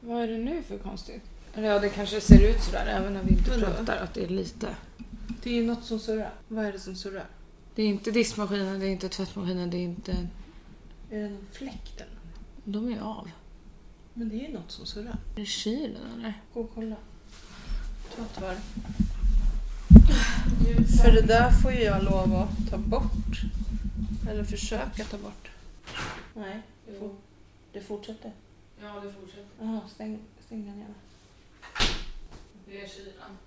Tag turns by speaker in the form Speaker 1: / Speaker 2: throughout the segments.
Speaker 1: Vad är det nu för konstigt? Eller ja, det kanske ser ut sådär även när vi inte
Speaker 2: Vadå?
Speaker 1: pratar att det är lite.
Speaker 2: Det är ju något som surrar. Vad är det som surrar?
Speaker 1: Det är inte diskmaskinen, det är inte tvättmaskinen, det är inte...
Speaker 2: Är det någon fläkt eller något?
Speaker 1: De är av.
Speaker 2: Men det är något som surrar.
Speaker 1: Är det kylen eller?
Speaker 2: Gå och kolla. Ta ett varv. För det där får ju jag lov att ta bort. Eller försöka ta bort. Nej, det, for- det fortsätter.
Speaker 1: Ja, det fortsätter.
Speaker 2: Jaha, stäng, stäng den igen.
Speaker 1: Det är kylan.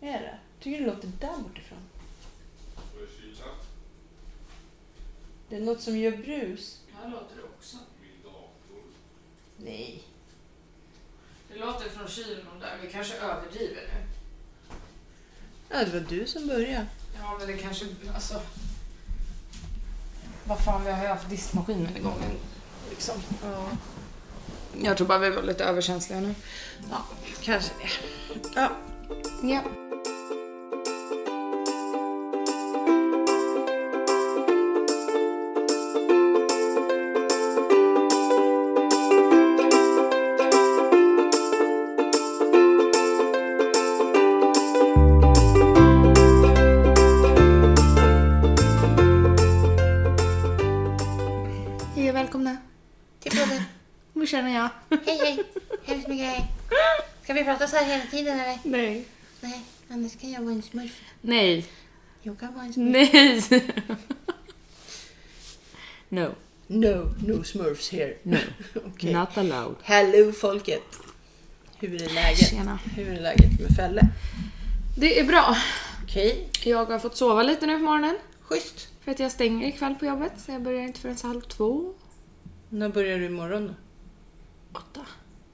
Speaker 2: Är det? Tycker du det låter där bortifrån? Det är något som gör brus.
Speaker 1: Här låter det också.
Speaker 2: Nej.
Speaker 1: Det låter från kylen och där. Vi kanske överdriver nu.
Speaker 2: Ja, det var du som började.
Speaker 1: Ja, men det kanske... Alltså... Vad fan, vi har ju haft diskmaskinen igång en
Speaker 2: Liksom. Ja,
Speaker 1: Jag tror bara vi var lite överkänsliga nu.
Speaker 2: kanske det. Ja.
Speaker 1: Ja.
Speaker 3: Hej och välkomna till podden.
Speaker 1: Hur känner jag?
Speaker 3: Hej hej! Hemskt mycket hej. Ska vi prata så här hela tiden eller?
Speaker 1: Nej.
Speaker 3: Nej, annars kan jag vara en smurf.
Speaker 1: Nej.
Speaker 3: Jag kan vara en smurf.
Speaker 1: Nej. no.
Speaker 2: No, no smurfs here.
Speaker 1: No.
Speaker 2: Okej.
Speaker 1: Not allowed.
Speaker 2: Hello folket! Hur är läget?
Speaker 1: Tjena.
Speaker 2: Hur är läget med Fälle?
Speaker 1: Det är bra.
Speaker 2: Okej,
Speaker 1: Jag har fått sova lite nu på morgonen.
Speaker 2: schysst.
Speaker 1: För att jag stänger ikväll på jobbet. Så jag börjar inte förrän halv två.
Speaker 2: När börjar du imorgon då?
Speaker 1: Åtta.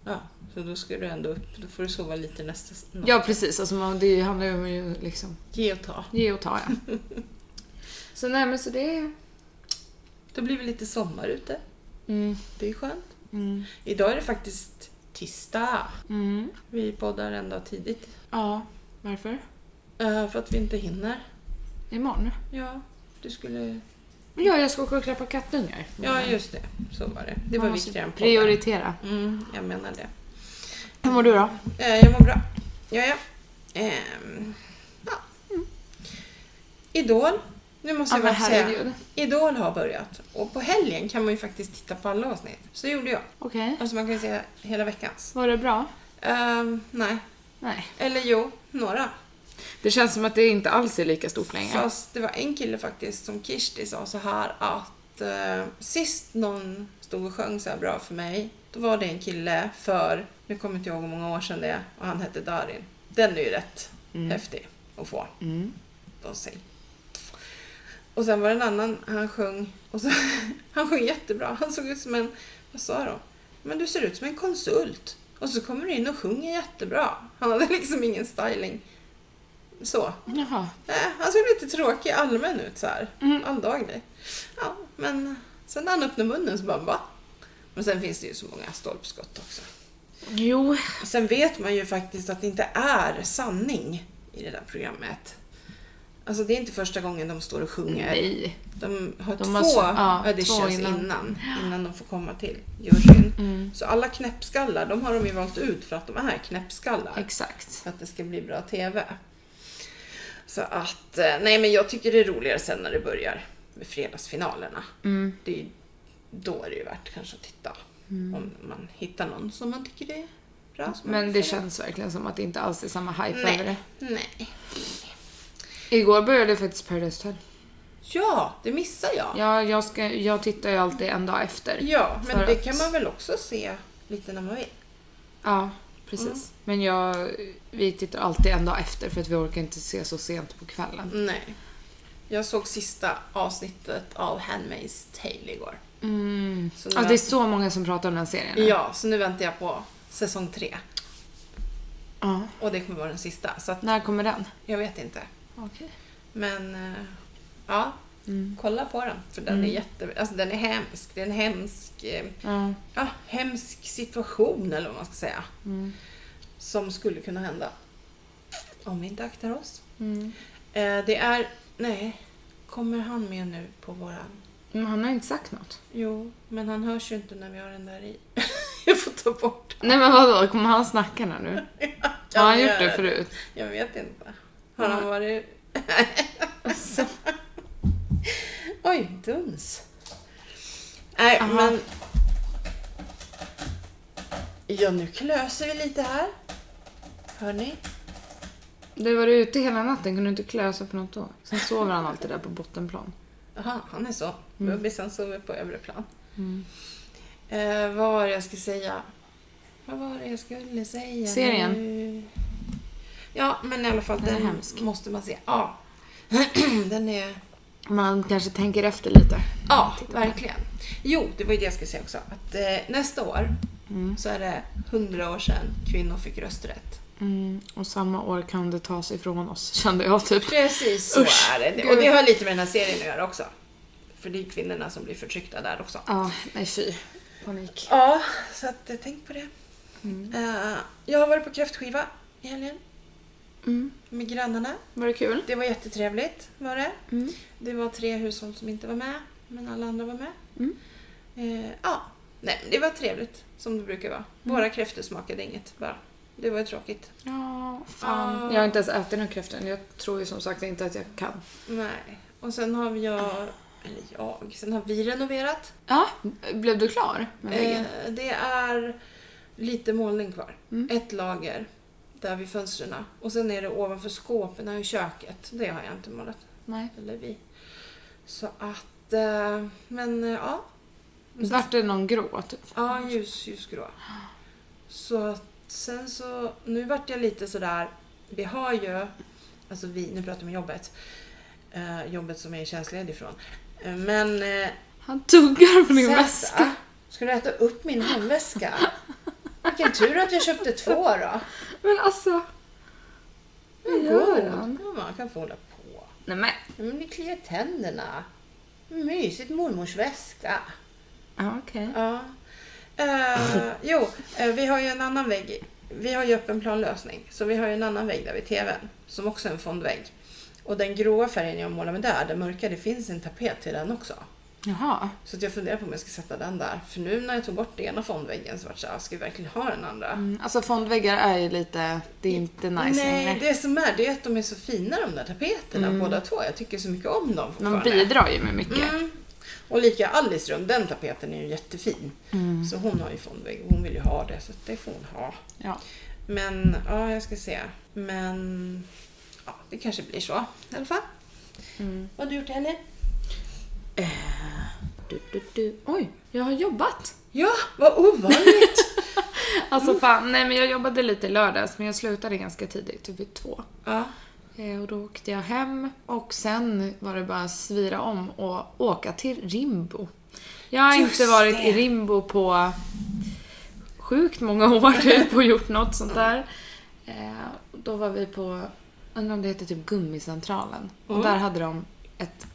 Speaker 2: Ja, så då ska du ändå upp. Då får du sova lite nästa natt.
Speaker 1: Ja precis, alltså man, det handlar ju om ju liksom
Speaker 2: Ge och ta.
Speaker 1: ge och ta ja. så nej men så det är...
Speaker 2: Då blir det lite sommar ute.
Speaker 1: Mm.
Speaker 2: Det är skönt.
Speaker 1: Mm.
Speaker 2: Idag är det faktiskt tisdag.
Speaker 1: Mm.
Speaker 2: Vi poddar en dag tidigt.
Speaker 1: Ja, varför?
Speaker 2: Eh, för att vi inte hinner.
Speaker 1: Imorgon?
Speaker 2: Ja, du skulle...
Speaker 1: Ja, jag ska åka och klappa kattungar.
Speaker 2: Ja, just det. Så var det. Det var
Speaker 1: Man måste
Speaker 2: viktigare än podden.
Speaker 1: Prioritera.
Speaker 2: Mm, jag menar det.
Speaker 1: Hur mår du då?
Speaker 2: Eh, jag mår bra. Ja, ja. Ehm, ja. Idol. Nu måste
Speaker 1: Mm. Ja,
Speaker 2: jag
Speaker 1: men
Speaker 2: bara säga.
Speaker 1: herregud.
Speaker 2: Idol har börjat. Och på helgen kan man ju faktiskt titta på alla avsnitt. Så gjorde jag.
Speaker 1: Okej.
Speaker 2: Alltså man kan ju se hela veckans.
Speaker 1: Var det bra?
Speaker 2: Ehm, nej.
Speaker 1: Nej.
Speaker 2: Eller jo, några.
Speaker 1: Det känns som att det inte alls är lika stort längre.
Speaker 2: Fast det var en kille faktiskt som Kirsti sa så här att eh, sist någon stod och sjöng så här bra för mig, då var det en kille för, nu kommer inte jag ihåg hur många år sedan det är, och han hette Darin. Den är ju rätt häftig att få.
Speaker 1: Mm.
Speaker 2: De säger. Och sen var det en annan, han sjöng, och så, han sjöng jättebra. Han såg ut som en, vad sa de? Men du ser ut som en konsult. Och så kommer du in och sjunger jättebra. Han hade liksom ingen styling. Så.
Speaker 1: Jaha.
Speaker 2: Nej, Eh, han såg lite tråkig allmän ut så här.
Speaker 1: Mm.
Speaker 2: Alldaglig. Ja, men sen när han öppnade munnen så bara va? Men sen finns det ju så många stolpskott också.
Speaker 1: Jo.
Speaker 2: Sen vet man ju faktiskt att det inte är sanning i det där programmet. Alltså det är inte första gången de står och sjunger.
Speaker 1: Nej.
Speaker 2: De har
Speaker 1: De
Speaker 2: två
Speaker 1: har s- ja,
Speaker 2: auditions
Speaker 1: två innan.
Speaker 2: innan. Innan, de får komma till juryn.
Speaker 1: Mm.
Speaker 2: Så alla knäppskallar, de har de ju valt ut för att de är knäppskallar
Speaker 1: Exakt.
Speaker 2: för att det ska bli bra TV. Så att, eh, nej men jag tycker det är roligare sen när det börjar med fredagsfinalerna.
Speaker 1: Mm.
Speaker 2: Det är, ju- då är det ju värt kanske att titta. Om man hittar någon som man tycker är bra. Som man
Speaker 1: Men det
Speaker 2: vill
Speaker 1: känns verkligen som att det inte alls är samma hype
Speaker 2: Nej.
Speaker 1: över det.
Speaker 2: följa. Nej.
Speaker 1: Igår började faktiskt Paradise Hotel.
Speaker 2: Ja, det missar jag. Ja,
Speaker 1: Ja, jag, ska, jag tittar ju alltid en dag efter.
Speaker 2: men
Speaker 1: För
Speaker 2: det
Speaker 1: att-
Speaker 2: kan man väl också se lite när man vill.
Speaker 1: Ja, precis. Men jag, vi tittar alltid en dag efter för att vi orkar inte se så sent på kvällen.
Speaker 2: Nej. Jag såg sista avsnittet av Handmaid's Tale igår.
Speaker 1: Mm.
Speaker 2: Så nu
Speaker 1: Alltså, det är så många som pratar om den serien. nu.
Speaker 2: Ja, så nu väntar jag på säsong tre.
Speaker 1: ja.
Speaker 2: Och det kommer vara den sista. Så att
Speaker 1: När kommer den?
Speaker 2: Jag vet inte.
Speaker 1: Okej.
Speaker 2: Men eh, ja,
Speaker 1: Mm.
Speaker 2: kolla på den. För den är jätte... Alltså den är hemsk. Det är en hemsk, eh,
Speaker 1: Ja.
Speaker 2: ja, hemsk situation eller vad man ska säga.
Speaker 1: Mm.
Speaker 2: Som skulle kunna hända. Om vi inte aktar oss.
Speaker 1: Mm.
Speaker 2: Eh, det är... Nej. Kommer han med nu på våran...
Speaker 1: Men han har inte sagt något.
Speaker 2: Jo, men han hörs ju inte när vi har den där i. jag får ta bort.
Speaker 1: Nej men vadå, kommer han snacka här nu? Har han gjort det förut?
Speaker 2: Jag vet inte. Har han
Speaker 1: Ja.
Speaker 2: varit... Oj, duns. Nej,
Speaker 1: Aha.
Speaker 2: men... Ja, nu klöser vi lite här. Hör ni?
Speaker 1: Du var ute hela natten, kunde du inte klösa på något då? Sen sover han alltid där på bottenplan.
Speaker 2: Jaha, han är så.
Speaker 1: Mm.
Speaker 2: Bubbisen sover på övre plan.
Speaker 1: Mm.
Speaker 2: Eh, vad var det jag skulle säga? Vad var det jag skulle säga?
Speaker 1: Serien.
Speaker 2: nu? Ja, men i alla fall
Speaker 1: Den är
Speaker 2: den,
Speaker 1: hemsk.
Speaker 2: måste man se. Ja. den är...
Speaker 1: Man kanske tänker efter lite.
Speaker 2: Ja, verkligen. Jo, det var ju det jag skulle säga också. Att eh, nästa år så är det 100 år sedan kvinnor fick rösträtt.
Speaker 1: Mm. Och samma år kan det tas ifrån oss, kände jag typ.
Speaker 2: Precis så
Speaker 1: Usch,
Speaker 2: är det. Och
Speaker 1: gud.
Speaker 2: det har lite med den här serien att göra också. För det är kvinnorna som blir förtryckta där också.
Speaker 1: Ja, nej fy. Panik.
Speaker 2: Ja, så att, eh, tänk på det. Eh, jag har varit på kräftskiva i helgen
Speaker 1: Mm.
Speaker 2: med grannarna.
Speaker 1: Var det kul?
Speaker 2: Det var jättetrevligt var det.
Speaker 1: Mm.
Speaker 2: Det var tre hushåll som inte var med, men alla andra var med.
Speaker 1: Mm.
Speaker 2: Eh, ja, nej, men det var trevligt som det brukar vara.
Speaker 1: Mm.
Speaker 2: Våra kräftor smakade inget bara. Det var ju tråkigt.
Speaker 1: Ja, fan.
Speaker 2: Ja.
Speaker 1: Jag har inte ens ätit någon kräfta än. Jag tror ju som sagt inte att jag kan.
Speaker 2: Nej. Och sen har vi jag, eller jag, sen har vi renoverat.
Speaker 1: Ja, blev du klar med
Speaker 2: Eh,
Speaker 1: väggen?
Speaker 2: det är lite målning kvar.
Speaker 1: Mm.
Speaker 2: Ett lager där vid fönstren. Och sen är det ovanför skåpen och köket. Det har jag inte målat.
Speaker 1: Nej.
Speaker 2: Eller vi. Så att, eh, men eh, ja.
Speaker 1: Vart det någon grå typ?
Speaker 2: Ja, ljus, ljusgrå. Så att sen så, nu vart jag lite sådär, vi har ju, alltså vi, nu pratar vi om jobbet, eh, jobbet som jag är tjänstledig ifrån. Eh, men eh,
Speaker 1: Han tuggar på din
Speaker 2: Zelda,
Speaker 1: väska.
Speaker 2: Ska du äta upp min handväska? Vilken tur att jag köpte två då. Mm,
Speaker 1: Men alltså. Vad gör han?
Speaker 2: Ja, man kan få hålla på.
Speaker 1: Nej men.
Speaker 2: Ja, Men det kliar tänderna. Mysigt mormors väska.
Speaker 1: Ja, okej.
Speaker 2: Ja. Eh, jo, eh, vi har ju en annan vägg. Vi har ju öppen planlösning. Så vi har ju en annan vägg där vid TVn. Som också är en fondvägg. Och den gråa färgen jag målar med där, den mörka, det finns en tapet till den också.
Speaker 1: Jaha.
Speaker 2: Så att jag funderar på om jag ska sätta den där. För nu när jag tog bort den ena fondväggen så vart det så här, "Ah, ska vi verkligen ha den andra?
Speaker 1: Mm, alltså fondväggar är ju lite, det är inte nice
Speaker 2: Nej,
Speaker 1: längre.
Speaker 2: det som är det är att de är så fina de där tapeterna
Speaker 1: Mm.
Speaker 2: båda två. Jag tycker så mycket om dem
Speaker 1: De
Speaker 2: fortfarande.
Speaker 1: bidrar ju med mycket.
Speaker 2: Mm. Och lika Alice rum, den tapeten är ju jättefin.
Speaker 1: Mm.
Speaker 2: Så hon har ju fondvägg och hon vill ju ha det så att det får hon ha.
Speaker 1: Ja.
Speaker 2: Men ja, jag ska se. Men ja, det kanske blir så i alla fall.
Speaker 1: Mm.
Speaker 2: Vad har du gjort i helgen?
Speaker 1: Du, du, du. Oj, jag har jobbat.
Speaker 2: Ja, vad ovanligt!
Speaker 1: Alltså fan, nej men jag jobbade lite i lördags men jag slutade ganska tidigt, typ vid två.
Speaker 2: ja.
Speaker 1: Eh, Och då åkte jag hem och sen var det bara att svira om och åka till Rimbo. Jag har
Speaker 2: Just
Speaker 1: inte varit
Speaker 2: det.
Speaker 1: i Rimbo på sjukt många år typ och gjort något sånt där. Eh, och Då var vi på, undrar om det heter typ Gummicentralen. Och
Speaker 2: Mm.
Speaker 1: där hade de ett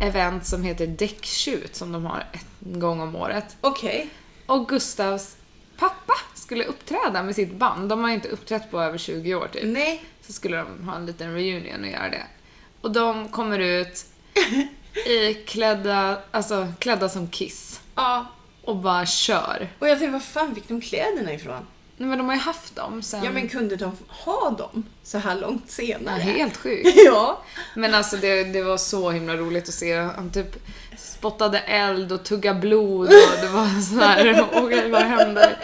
Speaker 1: event som heter Däcktjut som de har en gång om året.
Speaker 2: Okej.
Speaker 1: Och Gustavs pappa skulle uppträda med sitt band. De har inte uppträtt på över 20 år typ
Speaker 2: Nej.
Speaker 1: så skulle de ha en liten reunion och göra det. Och de kommer ut i klädda, alltså klädda som Kiss
Speaker 2: Ja.
Speaker 1: och bara kör.
Speaker 2: Och jag tänkte, var fan fick de kläderna ifrån?
Speaker 1: Nej men de har ju haft dem sen...
Speaker 2: Ja, men kunde de ha dem så här långt
Speaker 1: Ja,
Speaker 2: senare?
Speaker 1: helt sjukt.
Speaker 2: Ja.
Speaker 1: Men alltså det, det var så himla roligt att se. Han typ spottade eld och tuggade blod och det var så här, okej vad händer?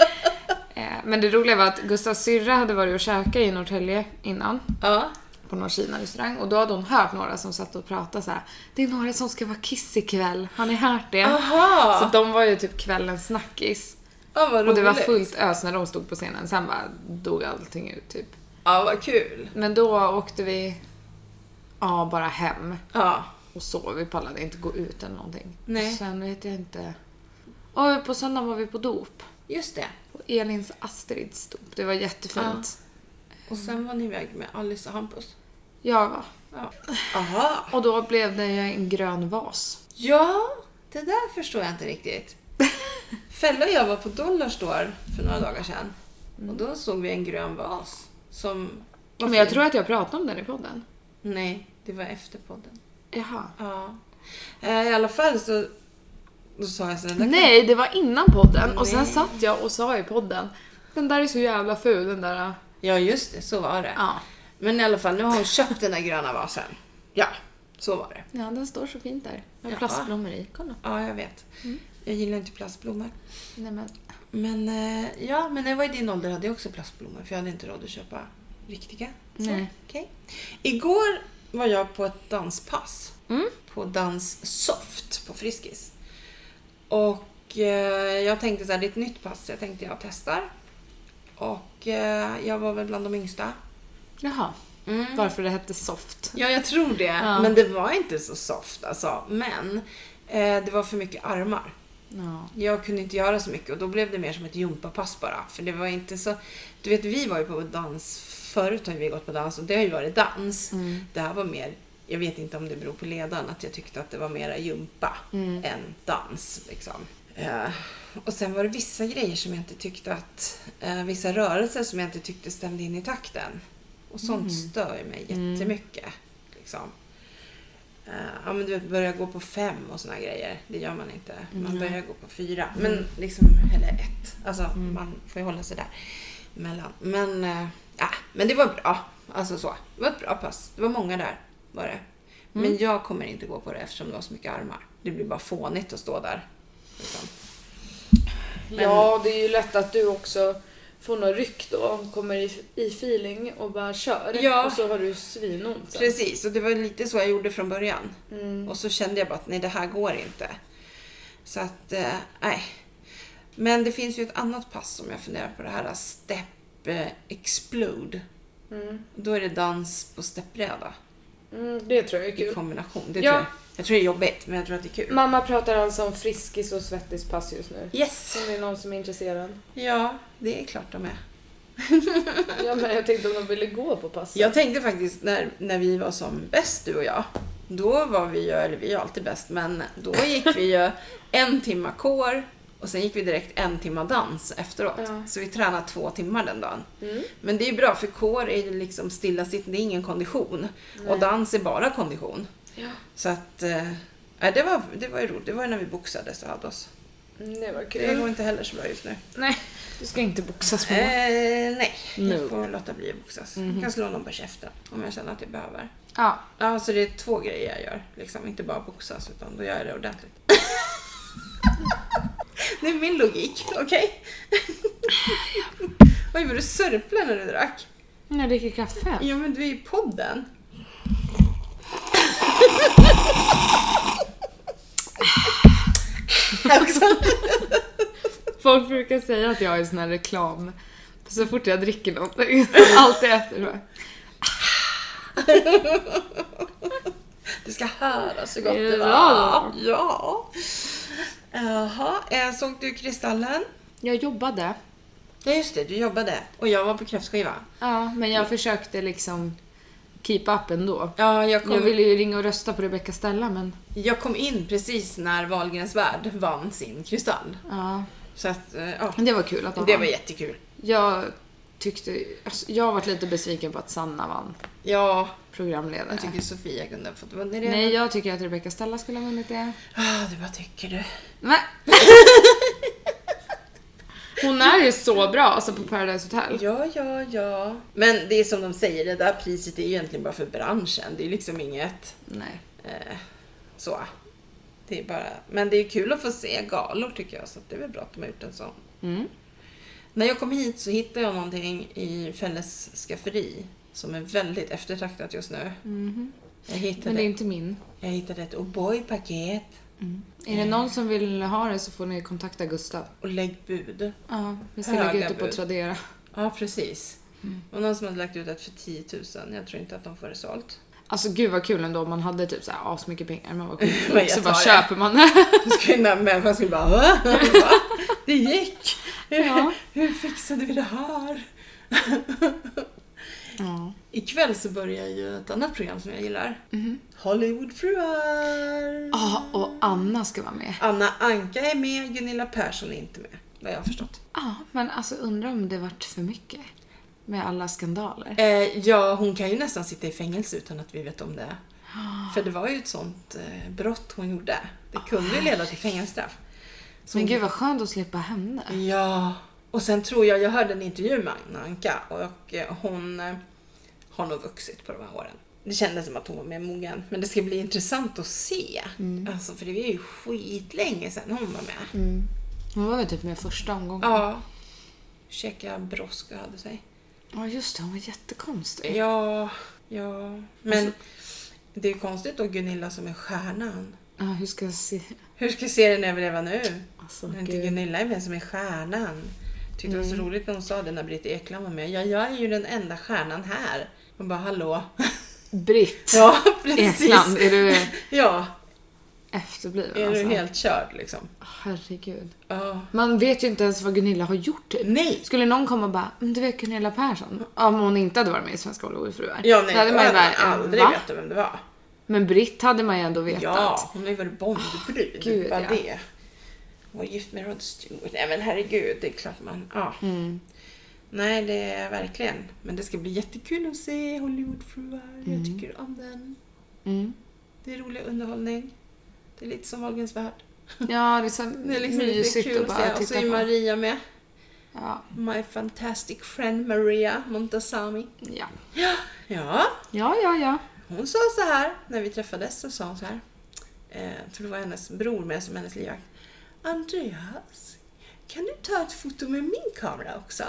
Speaker 1: Eh, Men det roliga var att Gustavs syrra hade varit och käkat i Norrtälje innan.
Speaker 2: Ja.
Speaker 1: på någon Kina-restaurang och då hade hon hört några som satt och pratade så här. Det är några som ska vara kiss ikväll, har ni hört det? Så
Speaker 2: Aha!
Speaker 1: de var ju typ kvällens snackis.
Speaker 2: Ja, vad roligt.
Speaker 1: Och det var fullt ös när de stod på scenen, sen bara dog allting ut typ.
Speaker 2: Ja, vad kul.
Speaker 1: Men då åkte vi, ja bara hem
Speaker 2: Ja.
Speaker 1: och sov, vi pallade inte gå ut eller någonting.
Speaker 2: Nej.
Speaker 1: Sen vet jag inte. Och på söndagen var vi på dop.
Speaker 2: Just det.
Speaker 1: På Elins Astrids dop, det var jättefint.
Speaker 2: Ah. Och sen var ni iväg med Alice och Hampus.
Speaker 1: Ja.
Speaker 2: Ja. Aha.
Speaker 1: Och då blev det en grön vas.
Speaker 2: Ja, det där förstår jag inte riktigt. Fälla och jag var på Dollarstore för
Speaker 1: Mm.
Speaker 2: några dagar sedan. Och då såg vi en grön vas. Som var
Speaker 1: Men jag
Speaker 2: fin.
Speaker 1: tror att jag pratade om den i podden.
Speaker 2: Nej, det var efter podden.
Speaker 1: Jaha.
Speaker 2: Ja. Eh, I alla fall så Då sa jag sen den där
Speaker 1: Nej, det var innan podden och sen
Speaker 2: Nej.
Speaker 1: satt jag och sa i podden Den där är så jävla ful, den där.
Speaker 2: Ja just det, så var det.
Speaker 1: Ja.
Speaker 2: Men i alla fall, nu har hon köpt den där gröna vasen. Ja, så var det.
Speaker 1: Ja, den står så fint där. Med
Speaker 2: Ja.
Speaker 1: plastblommor i. Kolla.
Speaker 2: Ja, jag vet.
Speaker 1: Mm.
Speaker 2: Jag gillar inte plastblommor.
Speaker 1: Nej, men.
Speaker 2: Men eh, ja, men när jag var i din ålder hade jag också plastblommor för jag hade inte råd att köpa riktiga. Så,
Speaker 1: Nej.
Speaker 2: okej. Igår var jag på ett danspass.
Speaker 1: Mm.
Speaker 2: På dans soft på Friskis. Och eh, jag tänkte så här, det är ett nytt pass. Jag tänkte jag testar. Och eh, jag var väl bland de yngsta.
Speaker 1: Jaha. Varför det hette soft.
Speaker 2: Ja, jag tror det.
Speaker 1: Mm. Ja.
Speaker 2: Men det var inte så soft alltså. Men eh, det var för mycket armar.
Speaker 1: Ja.
Speaker 2: Jag kunde inte göra så mycket och då blev det mer som ett gympapass bara. För det var inte så... Du vet, vi var ju på dans. Förut har vi gått på dans och det har ju varit dans.
Speaker 1: Mm.
Speaker 2: Det här var mer... Jag vet inte om det beror på ledaren att jag tyckte att det var mera gympa
Speaker 1: Mm.
Speaker 2: än dans. Liksom. Eh, och sen var det vissa grejer som jag inte tyckte att... Eh, vissa rörelser som jag inte tyckte stämde in i takten. Och sånt stör ju mig jättemycket. Liksom. Eh, ja men du vet, börja gå på fem och såna här grejer. Det gör man inte. Man börjar gå på fyra. Men liksom, eller ett. Alltså man får ju hålla sig där. Mellan. Men, eh, ja, men det var bra. Alltså så. Det var ett bra pass. Det var många där. Var det. Men jag kommer inte gå på det eftersom det var så mycket armar. Det blir bara fånigt att stå där. Liksom.
Speaker 4: Ja, det är ju lätt att du också får något ryck då och kommer i, i feeling och bara kör.
Speaker 2: Ja.
Speaker 4: Och så har du svinont sen.
Speaker 2: Precis, och det var lite så jag gjorde från början.
Speaker 4: Mm.
Speaker 2: Och så kände jag bara att nej, det här går inte. Så att, eh, nej. Men det finns ju ett annat pass som jag funderar på, det här Step eh, Explode.
Speaker 4: Mm.
Speaker 2: Då är det dans på steppbräda
Speaker 4: Mm, det tror jag är
Speaker 2: i
Speaker 4: kul.
Speaker 2: kombination. Det
Speaker 4: Ja.
Speaker 2: tror jag. jag tror det är jobbigt, men jag tror att det är kul.
Speaker 4: Mamma pratar alltså om Friskis och Svettispass just nu.
Speaker 2: Yes!
Speaker 4: Om det är någon som är intresserad.
Speaker 2: Ja, det är klart de är.
Speaker 4: Ja, men jag tänkte om de ville gå på passet.
Speaker 2: Jag tänkte faktiskt när, när vi var som bäst du och jag. Då var vi ju, eller vi är ju alltid bäst, men då gick vi ju en timma kår och sen gick vi direkt en timma dans efteråt.
Speaker 4: Ja.
Speaker 2: Så vi tränade två timmar den dagen.
Speaker 4: Mm.
Speaker 2: Men det är ju bra för kår är ju liksom stillasittande, det är ingen kondition. Och dans är bara kondition.
Speaker 4: Ja.
Speaker 2: Så att, eh, nej, det, var, det var ju roligt. Det var ju när vi boxades och hade oss.
Speaker 4: Mm, Det var
Speaker 2: Det går
Speaker 4: kul.
Speaker 2: inte heller så bra just nu.
Speaker 1: Nej, du ska inte boxas
Speaker 2: Eh,
Speaker 1: med.
Speaker 2: nej,
Speaker 1: No.
Speaker 2: jag får låta bli att boxas.
Speaker 4: Mhm.
Speaker 2: Jag kan slå någon på käften om jag känner att jag behöver.
Speaker 1: Ja.
Speaker 2: Ja, så det är två grejer jag gör. Liksom. Inte bara boxas, utan då gör jag det ordentligt. det är min logik, okej? Oj, vad du sörplade när du drack.
Speaker 1: När jag dricker kaffe.
Speaker 2: Ja, men du är ju i podden. Också.
Speaker 1: Folk brukar säga att jag är sån här reklam. Så fort jag dricker någonting, alltid efter. bara,
Speaker 2: Det ska höras så gott
Speaker 1: Är det
Speaker 2: det
Speaker 1: bra
Speaker 2: var. Ja. Jaha, eh, såg du Kristallen?
Speaker 1: Jag jobbade.
Speaker 2: Ja, just det. Du jobbade. Och jag var på kräftskiva.
Speaker 1: Ja, men jag försökte liksom keep up ändå.
Speaker 2: Ja, jag
Speaker 1: Jag ville ju ringa och rösta på Rebecca Stella, men
Speaker 2: Jag kom in precis när Wahlgrens värld vann sin kristall.
Speaker 1: ja.
Speaker 2: Så att, eh, ja.
Speaker 1: Det var kul att de
Speaker 2: Det
Speaker 1: vann.
Speaker 2: var jättekul.
Speaker 1: Jag tyckte... Alltså, jag har varit lite besviken på att Sanna vann
Speaker 2: Ja,
Speaker 1: programledare.
Speaker 2: jag tycker Sofia kunde ha fått vunnit det.
Speaker 1: Nej, jag tycker att Rebecca Stella skulle ha vunnit det.
Speaker 2: Ah, du bara tycker du.
Speaker 1: Nej. Hon är ju så bra alltså på Paradise Hotel.
Speaker 2: Ja, ja, ja. Men det är som de säger, det där priset är ju egentligen bara för branschen. Det är liksom inget
Speaker 1: Nej.
Speaker 2: eh, så. Det är bara, men det är kul att få se galor tycker jag, så att det är väl bra att de har gjort en sån.
Speaker 1: Mm.
Speaker 2: När jag kom hit så hittade jag någonting i Felles skafferi som är väldigt eftertraktat just nu. Jag hittade
Speaker 1: Mm-hmm. Men det är inte min.
Speaker 2: Jag hittade ett O'boy-paket
Speaker 1: Är det någon som vill ha det så får ni kontakta Gustav.
Speaker 2: och lägg bud.
Speaker 1: Ja, vi ska
Speaker 2: Höga
Speaker 1: lägga ut det på
Speaker 2: bud.
Speaker 1: Tradera.
Speaker 2: Ja, precis.
Speaker 1: Mm.
Speaker 2: Och någon som hade lagt ut ett för 10 000. Jag tror inte att de får det sålt.
Speaker 1: Alltså gud vad kul ändå om man hade typ såhär asmycket pengar man var sjuk
Speaker 2: Men jag
Speaker 1: så bara
Speaker 2: tar det.
Speaker 1: köper man det.
Speaker 2: Då skulle den där människan skulle bara Va? Va? Det gick! Hur,
Speaker 1: Ja.
Speaker 2: hur fixade vi det här?
Speaker 1: ja.
Speaker 2: Ikväll så börjar ju ett annat program som jag gillar. Hollywoodfruar!
Speaker 1: Mhm. Ja, Ah, och Anna ska vara med.
Speaker 2: Anna Anka är med, Gunilla Persson är inte med. Vad jag har förstått.
Speaker 1: Ja, men alltså undrar om det vart för mycket med alla skandaler.
Speaker 2: Eh, ja, hon kan ju nästan sitta i fängelse utan att vi vet om det. För det var ju ett sånt eh, brott hon gjorde. Det kunde ju leda till fängelsestraff.
Speaker 1: Ah, Men gud vad skönt att slippa henne.
Speaker 2: Ja. Och sen tror jag, jag hörde en intervju med Agna Anka och eh, hon eh, har nog vuxit på de här åren. Det kändes som att hon var mer mogen. Men det ska bli intressant att se. Alltså, för det är ju skitlänge sedan hon var
Speaker 1: Mm.
Speaker 2: med.
Speaker 1: Hon var väl typ med första omgången.
Speaker 2: Mm. Ja. Ursäkta, Brosk hade sig.
Speaker 1: Ja just det, hon var jättekonstig.
Speaker 2: Ja, ja. Men det är ju konstigt då Gunilla som är stjärnan.
Speaker 1: Ja, hur ska jag se?
Speaker 2: Hur ska serien överleva nu?
Speaker 1: Alltså,
Speaker 2: När inte
Speaker 1: gud.
Speaker 2: Gunilla är vem som är stjärnan. Tyckte det
Speaker 1: Mm.
Speaker 2: var så roligt när hon sa det när Britt Ekland var med. Ja, jag är ju den enda stjärnan här. Man bara hallå.
Speaker 1: Britt
Speaker 2: Ja, precis.
Speaker 1: Ekland, är du
Speaker 2: Ja,
Speaker 1: efterbliven
Speaker 2: är
Speaker 1: alltså?
Speaker 2: du helt körd liksom?
Speaker 1: Herregud.
Speaker 2: Ja.
Speaker 1: Man vet ju inte ens vad Gunilla har gjort typ.
Speaker 2: Nej!
Speaker 1: Skulle någon komma och bara "Mm, du vet Gunilla Persson? Ja, Om hon inte hade varit med i Svenska Hollywoodfruar.
Speaker 2: Ja, nej,
Speaker 1: Då hade man ju
Speaker 2: jag hade
Speaker 1: bara,
Speaker 2: aldrig
Speaker 1: "Va?"
Speaker 2: vetat vem det var.
Speaker 1: Men Britt hade man ju ändå vetat.
Speaker 2: Ja, hon har ju varit Bondbrud.
Speaker 1: Oh, gud,
Speaker 2: bara
Speaker 1: ja.
Speaker 2: det. Hon var gift med Rod Stewart. Nej men herregud, det är klart man... Ja.
Speaker 1: Mm.
Speaker 2: Nej, det är verkligen. Men det ska bli jättekul att se Hollywoodfruar. Jag tycker om den.
Speaker 1: Mm.
Speaker 2: Det är rolig underhållning. Det är lite som Wahlgrens värld.
Speaker 1: Ja, det är så
Speaker 2: Det är liksom lite
Speaker 1: mysigt
Speaker 2: kul
Speaker 1: att
Speaker 2: att
Speaker 1: bara
Speaker 2: se. Och så
Speaker 1: titta
Speaker 2: är
Speaker 1: på.
Speaker 2: Maria med.
Speaker 1: Ja,
Speaker 2: My fantastic friend Maria Montazami.
Speaker 1: ja.
Speaker 2: Ja,
Speaker 1: Ja, ja, ja.
Speaker 2: hon sa så här när vi träffades. Så sa hon så här. Eh, för det var hennes bror med som hennes livvakt. Andreas, kan du ta ett foto med min kamera också?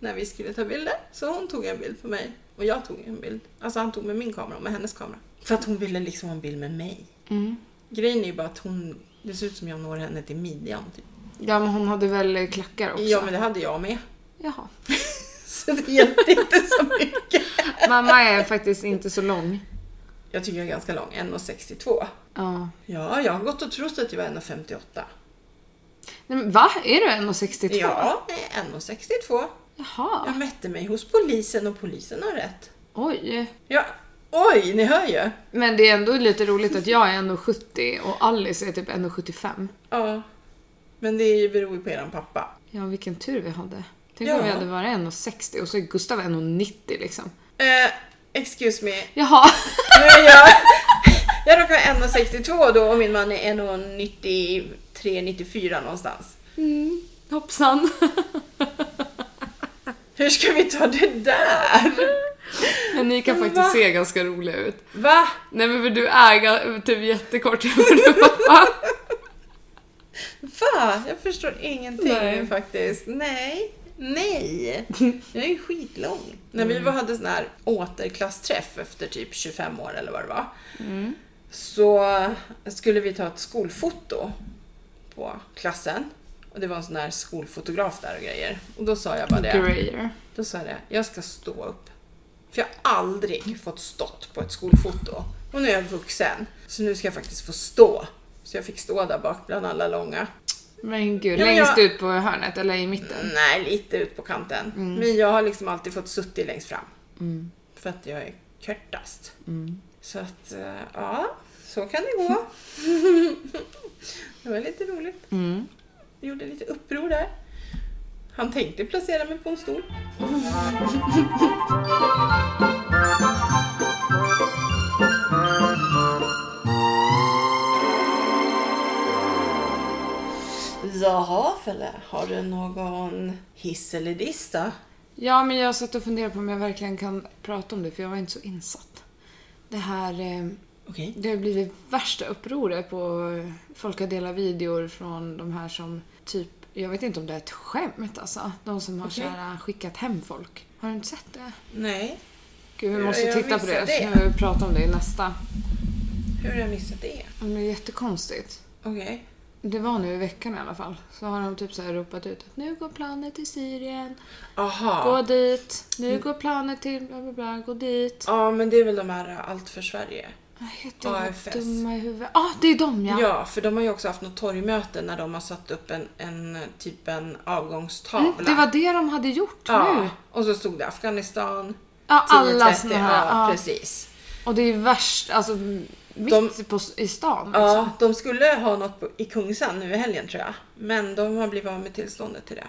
Speaker 2: När vi skulle ta bilder. Så hon tog en bild på mig och jag tog en bild. Alltså han tog med min kamera och med hennes kamera. För att hon ville liksom ha en bild med mig.
Speaker 1: Mm.
Speaker 2: Grejen är ju bara att hon, det ser ut som jag når henne till midjan typ.
Speaker 1: Ja, men hon hade väl klackar också?
Speaker 2: Ja men det hade jag med.
Speaker 1: Jaha.
Speaker 2: Så det hjälpte inte så mycket.
Speaker 1: Mamma är faktiskt inte så lång.
Speaker 2: Jag tycker jag är ganska lång, 1,62.
Speaker 1: Ja.
Speaker 2: Ja, jag har gått och trott att jag var 1,58.
Speaker 1: Nej, men va? Är du 1,62?
Speaker 2: Ja, nej, 1,62.
Speaker 1: Jaha.
Speaker 2: Jag mätte mig hos polisen och polisen har rätt.
Speaker 1: Oj.
Speaker 2: Ja, oj, ni hör ju.
Speaker 1: Men det är ändå lite roligt att jag är 1,70 och Alice är typ 1,75.
Speaker 2: Ja, men det beror ju på eran pappa.
Speaker 1: Ja, vilken tur vi hade. Tänk
Speaker 2: Ja.
Speaker 1: om vi hade varit 1,60 och så är Gustav 1,90 liksom.
Speaker 2: Eh, excuse me.
Speaker 1: Jaha.
Speaker 2: Nu är jag, jag råkar vara 1,62 då och min man är 1,93-94 någonstans.
Speaker 1: Mm. Hoppsan.
Speaker 2: Hur ska vi ta det där?
Speaker 1: Men ni kan faktiskt
Speaker 2: Va?
Speaker 1: se ganska roliga ut.
Speaker 2: Va?
Speaker 1: Nej men för du är ga- typ jättekort jämfört med pappa.
Speaker 2: Va? Jag förstår ingenting
Speaker 1: Nej.
Speaker 2: faktiskt. Nej. Nej. Jag är ju skitlång. När vi var, hade sån här återklassträff efter typ 25 år eller vad det var. Så skulle vi ta ett skolfoto på klassen. Och det var en sån här skolfotograf där och grejer. Och då sa jag bara det.
Speaker 1: Grayer.
Speaker 2: Då sa jag det, jag ska stå upp. För jag har aldrig fått stått på ett skolfoto. Och nu är jag vuxen. Så nu ska jag faktiskt få stå. Så jag fick stå där bak bland alla långa.
Speaker 1: Men gud,
Speaker 2: Ja, men
Speaker 1: längst
Speaker 2: jag-
Speaker 1: ut på hörnet eller i mitten.
Speaker 2: Nej, lite ut på kanten. Men jag har liksom alltid fått suttit längst fram. För att jag är kortast. Så att, eh, ja, så kan det gå. det var lite roligt.
Speaker 1: Mm.
Speaker 2: Jag gjorde lite uppror där. Han tänkte placera mig på en stol. Jaha Felle, har du någon hiss eller diss då?
Speaker 1: Ja, men jag satt och funderade på om jag verkligen kan prata om det för jag var inte så insatt. Det här, eh,
Speaker 2: Okej.
Speaker 1: det har blivit värsta upproret på eh, folk har delat videor från de här som typ, jag vet inte om det är ett skämt alltså. De som har
Speaker 2: Okej.
Speaker 1: så här, eh, skickat hem folk. Har du inte sett det?
Speaker 2: Nej,
Speaker 1: Gud, vi
Speaker 2: Jag-
Speaker 1: måste
Speaker 2: jag
Speaker 1: titta på det.
Speaker 2: missade det.
Speaker 1: Så jag vill prata om det i nästa.
Speaker 2: hur har jag missat det?
Speaker 1: Men Det är jättekonstigt.
Speaker 2: Okej.
Speaker 1: Det var nu i veckan i alla fall. Så har de typ så här ropat ut att nu går planet till Syrien.
Speaker 2: Aha.
Speaker 1: Gå dit. Nu går planet till bla bla bla. Gå dit.
Speaker 2: Ja, men det är väl de här ä, Allt för Sverige.
Speaker 1: Vad heter de
Speaker 2: AFS.
Speaker 1: dumma i huvudet? Ja, ah, det är de ja.
Speaker 2: Ja. för de har ju också haft något torgmöte när de har satt upp en, en eh, typ en avgångstavla.
Speaker 1: Mm, det var det de hade gjort nu.
Speaker 2: ja, och så stod det Afghanistan.
Speaker 1: Ja,
Speaker 2: 10.30.
Speaker 1: alla såna här.
Speaker 2: Ja,
Speaker 1: Ja,
Speaker 2: precis.
Speaker 1: Och det är värst, alltså mitt
Speaker 2: De-
Speaker 1: på, i stan. Liksom.
Speaker 2: Ja, de skulle ha något på, i Kungsan nu i helgen tror jag. Men de har blivit av med tillståndet till det.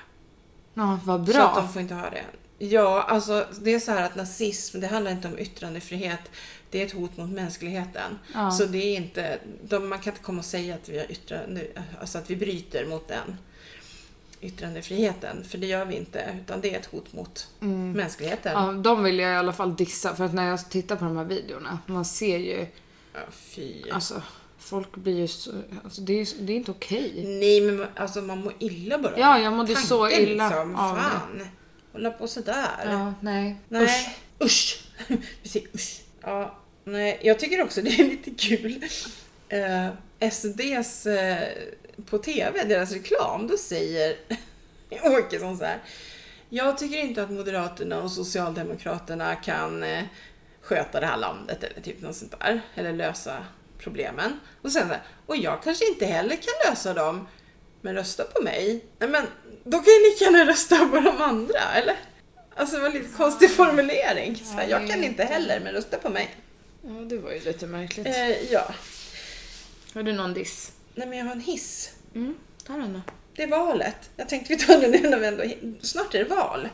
Speaker 1: Ja, vad
Speaker 2: Så att
Speaker 1: bra.
Speaker 2: de får inte ha det. Ja, alltså det är så här att nazism, det handlar inte om yttrandefrihet. Det är ett hot mot mänskligheten.
Speaker 1: Ja.
Speaker 2: Så det är inte, de, man kan inte komma och säga att vi, har yttrande, alltså att vi bryter mot den yttrandefriheten, för det gör vi inte. Utan det är ett hot mot mänskligheten.
Speaker 1: Mm. Ja, de vill jag i alla fall dissa för att när jag tittar på de här videorna, man ser ju,
Speaker 2: Ja, fy.
Speaker 1: alltså folk blir ju så, alltså, det, är, ju- det är inte okej.
Speaker 2: Nej, men man- alltså man mår illa bara.
Speaker 1: Ja, jag mådde
Speaker 2: Tanken,
Speaker 1: så illa
Speaker 2: Liksom.
Speaker 1: av det.
Speaker 2: Fan. Hålla på sådär.
Speaker 1: Ja, nej.
Speaker 2: Nej.
Speaker 1: Usch.
Speaker 2: Usch. Usch. Vi säger usch. Ja, nej, jag tycker också det är lite kul. Eh, SDs eh, på TV, deras reklam, då säger Åkesson så här. Jag tycker inte att Moderaterna och Socialdemokraterna kan eh, sköta det här landet eller typ något sånt där. Eller lösa problemen. Och sen så här, och jag kanske inte heller kan lösa dem. Men rösta på mig. Nej men, då kan jag lika gärna rösta på de andra, eller? Alltså det var en lite
Speaker 1: Ah.
Speaker 2: konstig formulering. Så här, jag kan inte heller, men rösta på mig.
Speaker 1: Ja, det var ju lite märkligt.
Speaker 2: Eh, ja.
Speaker 1: Har du någon diss?
Speaker 2: Nej men jag har en hiss.
Speaker 1: Mm, ta den då.
Speaker 2: Det är valet. Jag tänkte vi tar den nu när vi ändå hin- Snart är det val.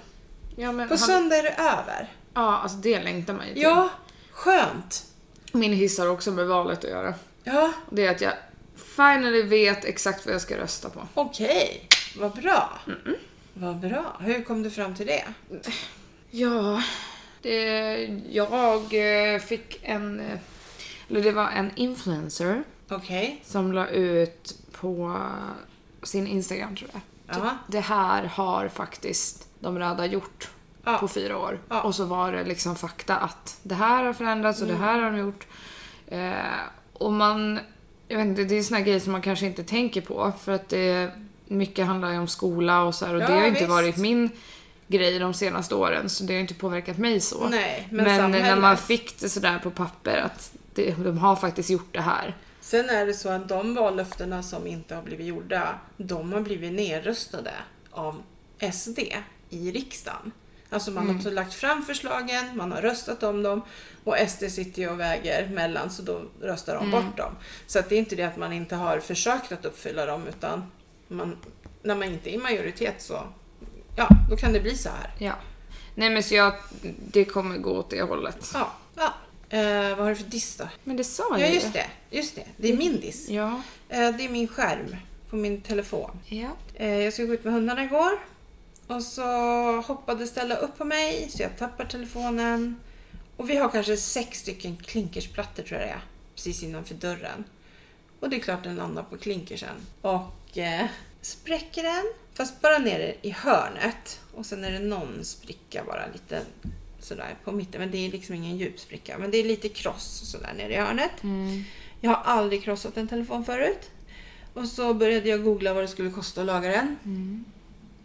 Speaker 1: Ja, men
Speaker 2: På
Speaker 1: han,
Speaker 2: söndag är det över.
Speaker 1: ja, alltså det längtar man ju till.
Speaker 2: Ja, skönt.
Speaker 1: Min hiss har också med valet att göra.
Speaker 2: Ja,
Speaker 1: Det är att jag finally vet exakt vad jag ska rösta på.
Speaker 2: okej. Vad bra. Vad bra. Hur kom du fram till det?
Speaker 1: Ja, det, jag eh, fick en... eh, Eller det var en influencer
Speaker 2: Okej.
Speaker 1: som la ut på sin Instagram tror jag.
Speaker 2: Ja.
Speaker 1: Det här har faktiskt de röda gjort
Speaker 2: Ja.
Speaker 1: på fyra år.
Speaker 2: Ja.
Speaker 1: Och så var det liksom fakta att det här har förändrats och
Speaker 2: Mm.
Speaker 1: det här har de gjort. Eh, och man, jag vet inte, det är såna grejer som man kanske inte tänker på för att det, mycket handlar ju om skola och så här och
Speaker 2: Ja,
Speaker 1: det har ju inte
Speaker 2: visst.
Speaker 1: varit min grej de senaste åren så det har ju inte påverkat mig så.
Speaker 2: Nej, men
Speaker 1: men när man
Speaker 2: samhället.
Speaker 1: fick det sådär på papper att det, de har faktiskt gjort det här.
Speaker 2: Sen är det så att de vallöftena som inte har blivit gjorda, de har blivit nedröstade av SD i riksdagen. Alltså man har lagt fram förslagen, man har röstat om dem och SD sitter ju och väger mellan så då röstar de bort dem. Så att det är inte det att man inte har försökt att uppfylla dem utan man, när man inte är i majoritet så ja, då kan det bli så här.
Speaker 1: Ja. Nej men så jag, det kommer gå åt det hållet.
Speaker 2: Ja, ja. Eh, vad har du för diss då?
Speaker 1: Men det sa
Speaker 2: Ja
Speaker 1: jag ju.
Speaker 2: just det, just det. Det är min diss.
Speaker 1: Ja.
Speaker 2: Eh, det är min skärm på min telefon.
Speaker 1: Ja.
Speaker 2: Eh, Jag skulle gå ut med hundarna igår. Och så hoppade Stella upp på mig så jag tappar telefonen. Och vi har kanske sex stycken klinkersplattor tror jag det är. Precis innanför dörren. Och det är klart den landar på klinkersen. Och eh, spräcker den. Fast bara nere i hörnet. Och sen är det någon spricka bara lite sådär på mitten. Men det är liksom ingen djup spricka. Men det är lite kross sådär nere i hörnet.
Speaker 1: Mm.
Speaker 2: Jag har aldrig krossat en telefon förut. Och så började jag googla vad det skulle kosta att laga den.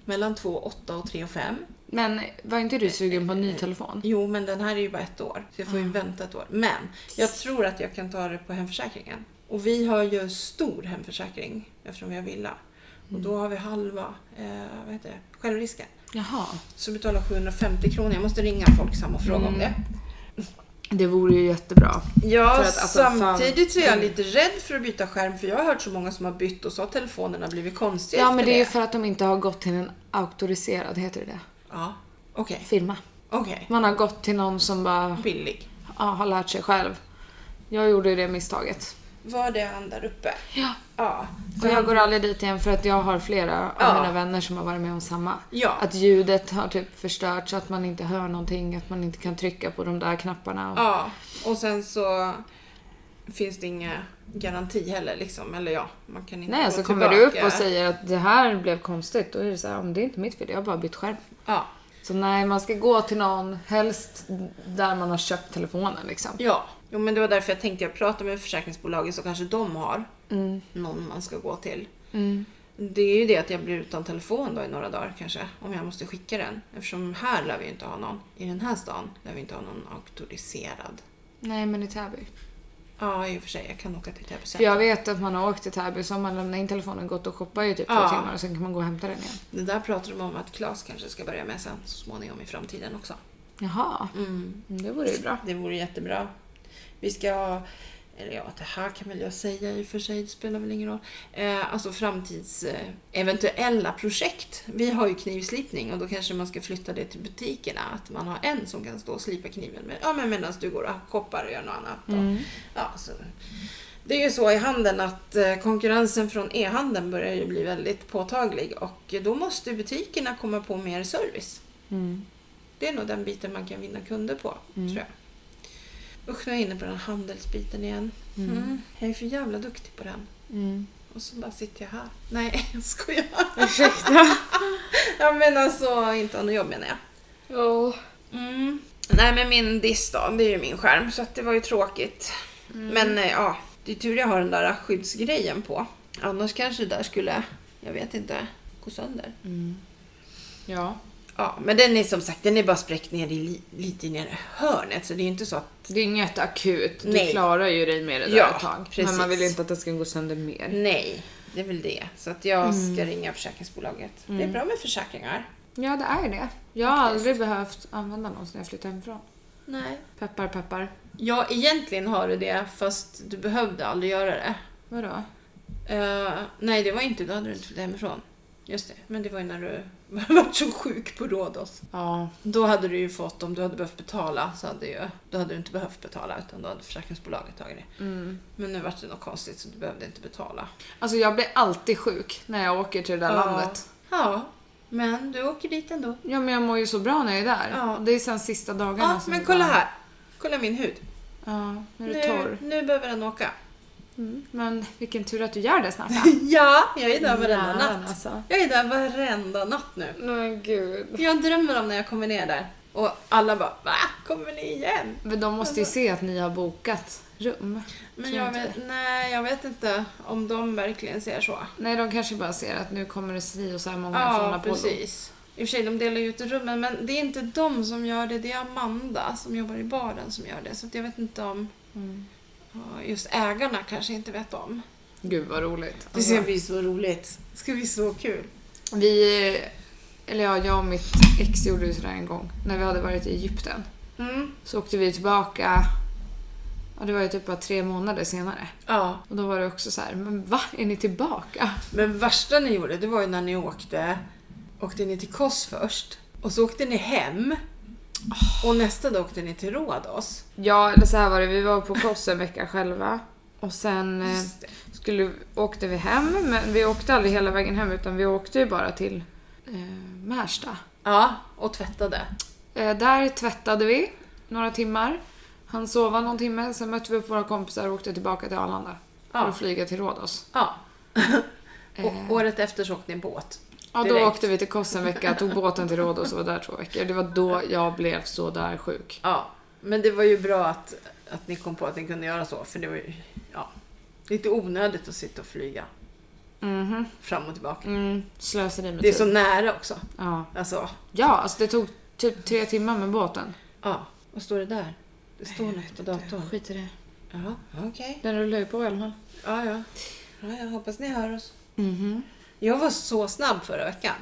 Speaker 2: Mellan 2 8 och 3 och 5.
Speaker 1: Men var inte du sugen på en ny telefon?
Speaker 2: Jo, men den här är ju bara ett år. Så jag får ju vänta ett år. Men jag tror att jag kan ta det på hemförsäkringen. Och vi har ju stor hemförsäkring eftersom vi har villa. Och då har vi halva eh, vad heter det? självrisken.
Speaker 1: Jaha.
Speaker 2: Så betalar 750 kronor. Jag måste ringa folk samma fråga om det.
Speaker 1: Det vore ju jättebra.
Speaker 2: Ja,
Speaker 1: För att, alltså, Mm.
Speaker 2: samtidigt så är jag
Speaker 1: fan.
Speaker 2: lite rädd för att byta skärm för jag har hört så många som har bytt och så har telefonerna blivit konstiga
Speaker 1: Ja
Speaker 2: efter
Speaker 1: men det är ju för att de inte har gått till en auktoriserad, heter det
Speaker 2: Ja, okej.
Speaker 1: det? Firma.
Speaker 2: Okej.
Speaker 1: Man har gått till någon som bara
Speaker 2: Billig.
Speaker 1: ja, har lärt sig själv. Jag gjorde ju det misstaget.
Speaker 2: Var det han där uppe?
Speaker 1: Ja.
Speaker 2: Ja.
Speaker 1: Och jag går aldrig dit igen för att jag har flera av
Speaker 2: Ja.
Speaker 1: mina vänner som har varit med om samma.
Speaker 2: Ja.
Speaker 1: Att ljudet har typ förstörts, att man inte hör någonting, att man inte kan trycka på de där knapparna. Och...
Speaker 2: Ja, och sen så finns det inga garanti heller liksom. Eller ja, man kan inte
Speaker 1: Nej,
Speaker 2: gå
Speaker 1: så kommer du
Speaker 2: tillbaka.
Speaker 1: upp och säger att det här blev konstigt. Då är det så här, om det är inte mitt fel, jag har bara bytt skärm.
Speaker 2: Ja.
Speaker 1: Så nej, man ska gå till någon, helst där man har köpt telefonen liksom.
Speaker 2: Ja, jo, men det var därför jag tänkte jag pratar med försäkringsbolaget så kanske de har
Speaker 1: Mm,
Speaker 2: någon man ska gå till. Det är ju det att jag blir utan telefon då i några dagar kanske, om jag måste skicka den. Eftersom här lär vi ju inte ha någon. I den här stan lär vi inte ha någon auktoriserad.
Speaker 1: Nej, men i Täby.
Speaker 2: Ja, i och för sig, jag kan åka till Täby
Speaker 1: För
Speaker 2: sen.
Speaker 1: jag vet att man har åkt till Täby så har man lämnat in telefonen, gått och shoppat i typ två
Speaker 2: Ja.
Speaker 1: timmar och sen kan man gå och hämta den igen.
Speaker 2: Det där pratar de om att Claes kanske ska börja med sen så småningom i framtiden också.
Speaker 1: Jaha,
Speaker 2: Mm.
Speaker 1: det vore ju bra.
Speaker 2: Det vore jättebra. Vi ska ha eller ja, det här kan väl jag säga i och för sig, det spelar väl ingen roll. Eh, alltså framtids eh, eventuella projekt. Vi har ju knivslipning och då kanske man ska flytta det till butikerna. Att man har en som kan stå och slipa kniven med, ja, men medan du går och koppar och gör något annat. då. Ja, så. Det är ju så i handeln att eh, konkurrensen från e-handeln börjar ju bli väldigt påtaglig och då måste butikerna komma på mer service.
Speaker 1: Mm.
Speaker 2: Det är nog den biten man kan vinna kunder på, tror jag. Usch, nu är jag inne på den handelsbiten igen. Mm. Jag är för jävla duktig på den.
Speaker 1: Mm.
Speaker 2: Och så bara sitter jag här. Nej, jag skojar.
Speaker 1: Ursäkta.
Speaker 2: Jag menar så, inte ha något jobb menar jag.
Speaker 4: Ja.
Speaker 2: Mm. Nej men min diss då, det är ju min skärm så att det var ju tråkigt. Men eh, ja, det är tur jag har den där skyddsgrejen på. Annars kanske det där skulle, jag vet inte, gå sönder.
Speaker 1: Ja.
Speaker 2: Ja, men den är som sagt, den är bara spräckt ner i, li- lite ner i hörnet så det är ju inte så att...
Speaker 1: Det är inget akut. Du
Speaker 2: Nej.
Speaker 1: klarar ju dig med det där
Speaker 2: Ja,
Speaker 1: ett tag. Men
Speaker 2: precis.
Speaker 1: man vill inte att det ska gå sönder mer.
Speaker 2: Nej, det är väl det. Så att jag ska ringa försäkringsbolaget. Det är bra med försäkringar.
Speaker 1: Ja, det är det. Jag har aldrig behövt använda någon sen jag flyttade hemifrån.
Speaker 2: Nej.
Speaker 1: Peppar, peppar.
Speaker 2: Ja, egentligen har du det fast du behövde aldrig göra det.
Speaker 1: Vadå?
Speaker 2: Eh, nej, det var inte, då hade du inte flyttat hemifrån. Just det, men det var ju när du var så sjuk på Rhodos.
Speaker 1: Ja.
Speaker 2: Då hade du ju fått, om du hade behövt betala, så hade, ju, då hade du inte behövt betala utan då hade försäkringsbolaget tagit det.
Speaker 1: Mm.
Speaker 2: Men nu vart det något konstigt så du behövde inte betala.
Speaker 1: Alltså jag blir alltid sjuk när jag åker till det där landet.
Speaker 2: Ja, men du åker dit ändå.
Speaker 1: Ja men jag mår ju så bra när jag är där.
Speaker 2: Ja.
Speaker 1: Det är sen sista
Speaker 2: Ja,
Speaker 1: dagarna som
Speaker 2: men
Speaker 1: det
Speaker 2: kolla
Speaker 1: bara-
Speaker 2: här. Kolla min hud.
Speaker 1: Ja, nu är det
Speaker 2: Nu,
Speaker 1: torr.
Speaker 2: nu behöver den åka.
Speaker 1: Men vilken tur att du gör det snart.
Speaker 2: Ja, jag Mm. är där varenda
Speaker 1: Jävlar,
Speaker 2: natt.
Speaker 1: Alltså.
Speaker 2: Jag är där varenda natt nu.
Speaker 1: Men gud.
Speaker 2: Jag drömmer om när jag kommer ner där. Och alla bara va? Kommer ni igen?
Speaker 1: Men de måste ju se att ni har bokat rum.
Speaker 2: Men
Speaker 1: Tror
Speaker 2: jag
Speaker 1: inte
Speaker 2: vet, nej, jag vet inte om de verkligen ser så.
Speaker 1: Nej, de kanske bara ser att nu kommer det si och så här många från
Speaker 2: Ja,
Speaker 1: Apollo.
Speaker 2: precis. I och för sig, de delar ju ut rummen, men det är inte de som gör det. Det är Amanda som jobbar i baren som gör det. Så att jag vet inte om
Speaker 1: Mm.
Speaker 2: ja, just ägarna kanske inte vet om.
Speaker 1: Gud vad roligt. Alltså,
Speaker 2: Det ska bli så roligt. Det ska bli så kul.
Speaker 1: Vi, eller ja, jag och mitt ex gjorde ju sådär en gång när vi hade varit i Egypten.
Speaker 2: Mm.
Speaker 1: Så åkte vi tillbaka, ja det var ju typ bara tre månader senare.
Speaker 2: Ja,
Speaker 1: Och då var det också så här, men va? Är ni tillbaka?
Speaker 2: men värsta ni gjorde, det var ju när ni åkte, åkte ni till Kos först och så åkte ni hem och nästa dag åkte ni till Rhodos.
Speaker 1: Ja, eller så här var det, vi var på Kos en vecka själva. Och sen eh,
Speaker 2: Just det.
Speaker 1: skulle, åkte vi hem, men vi åkte aldrig hela vägen hem utan vi åkte ju bara till eh, Märsta.
Speaker 2: Ja, och tvättade.
Speaker 1: Eh, där tvättade vi några timmar. Han sov någon timme, sen mötte vi upp våra kompisar och åkte tillbaka till Arlanda. För
Speaker 2: Ja.
Speaker 1: att flyga till Rhodos.
Speaker 2: Ja.
Speaker 1: Eh.
Speaker 2: Och året efter så åkte ni båt.
Speaker 1: Ja, då
Speaker 2: Direkt.
Speaker 1: åkte vi till Kos en vecka, tog båten till Rhodos och var där två veckor. Det var då jag blev så där sjuk.
Speaker 2: Ja, men det var ju bra att, att ni kom på att ni kunde göra så för det var ju ja, lite onödigt att sitta och flyga
Speaker 1: Mhm.
Speaker 2: fram och tillbaka.
Speaker 1: Mm, slösade med
Speaker 2: Det är
Speaker 1: tid.
Speaker 2: så nära också.
Speaker 1: Ja.
Speaker 2: Alltså,
Speaker 1: ja, alltså det tog typ tre timmar med båten.
Speaker 2: ja. Vad står det där? Det står något på datorn.
Speaker 1: Skit i det.
Speaker 2: Ja, okej.
Speaker 1: Den rullar ju på i alla fall.
Speaker 2: Ja, ja. ja jag hoppas ni hör oss. Mm-hmm.
Speaker 1: Mhm.
Speaker 2: Jag var så snabb förra veckan.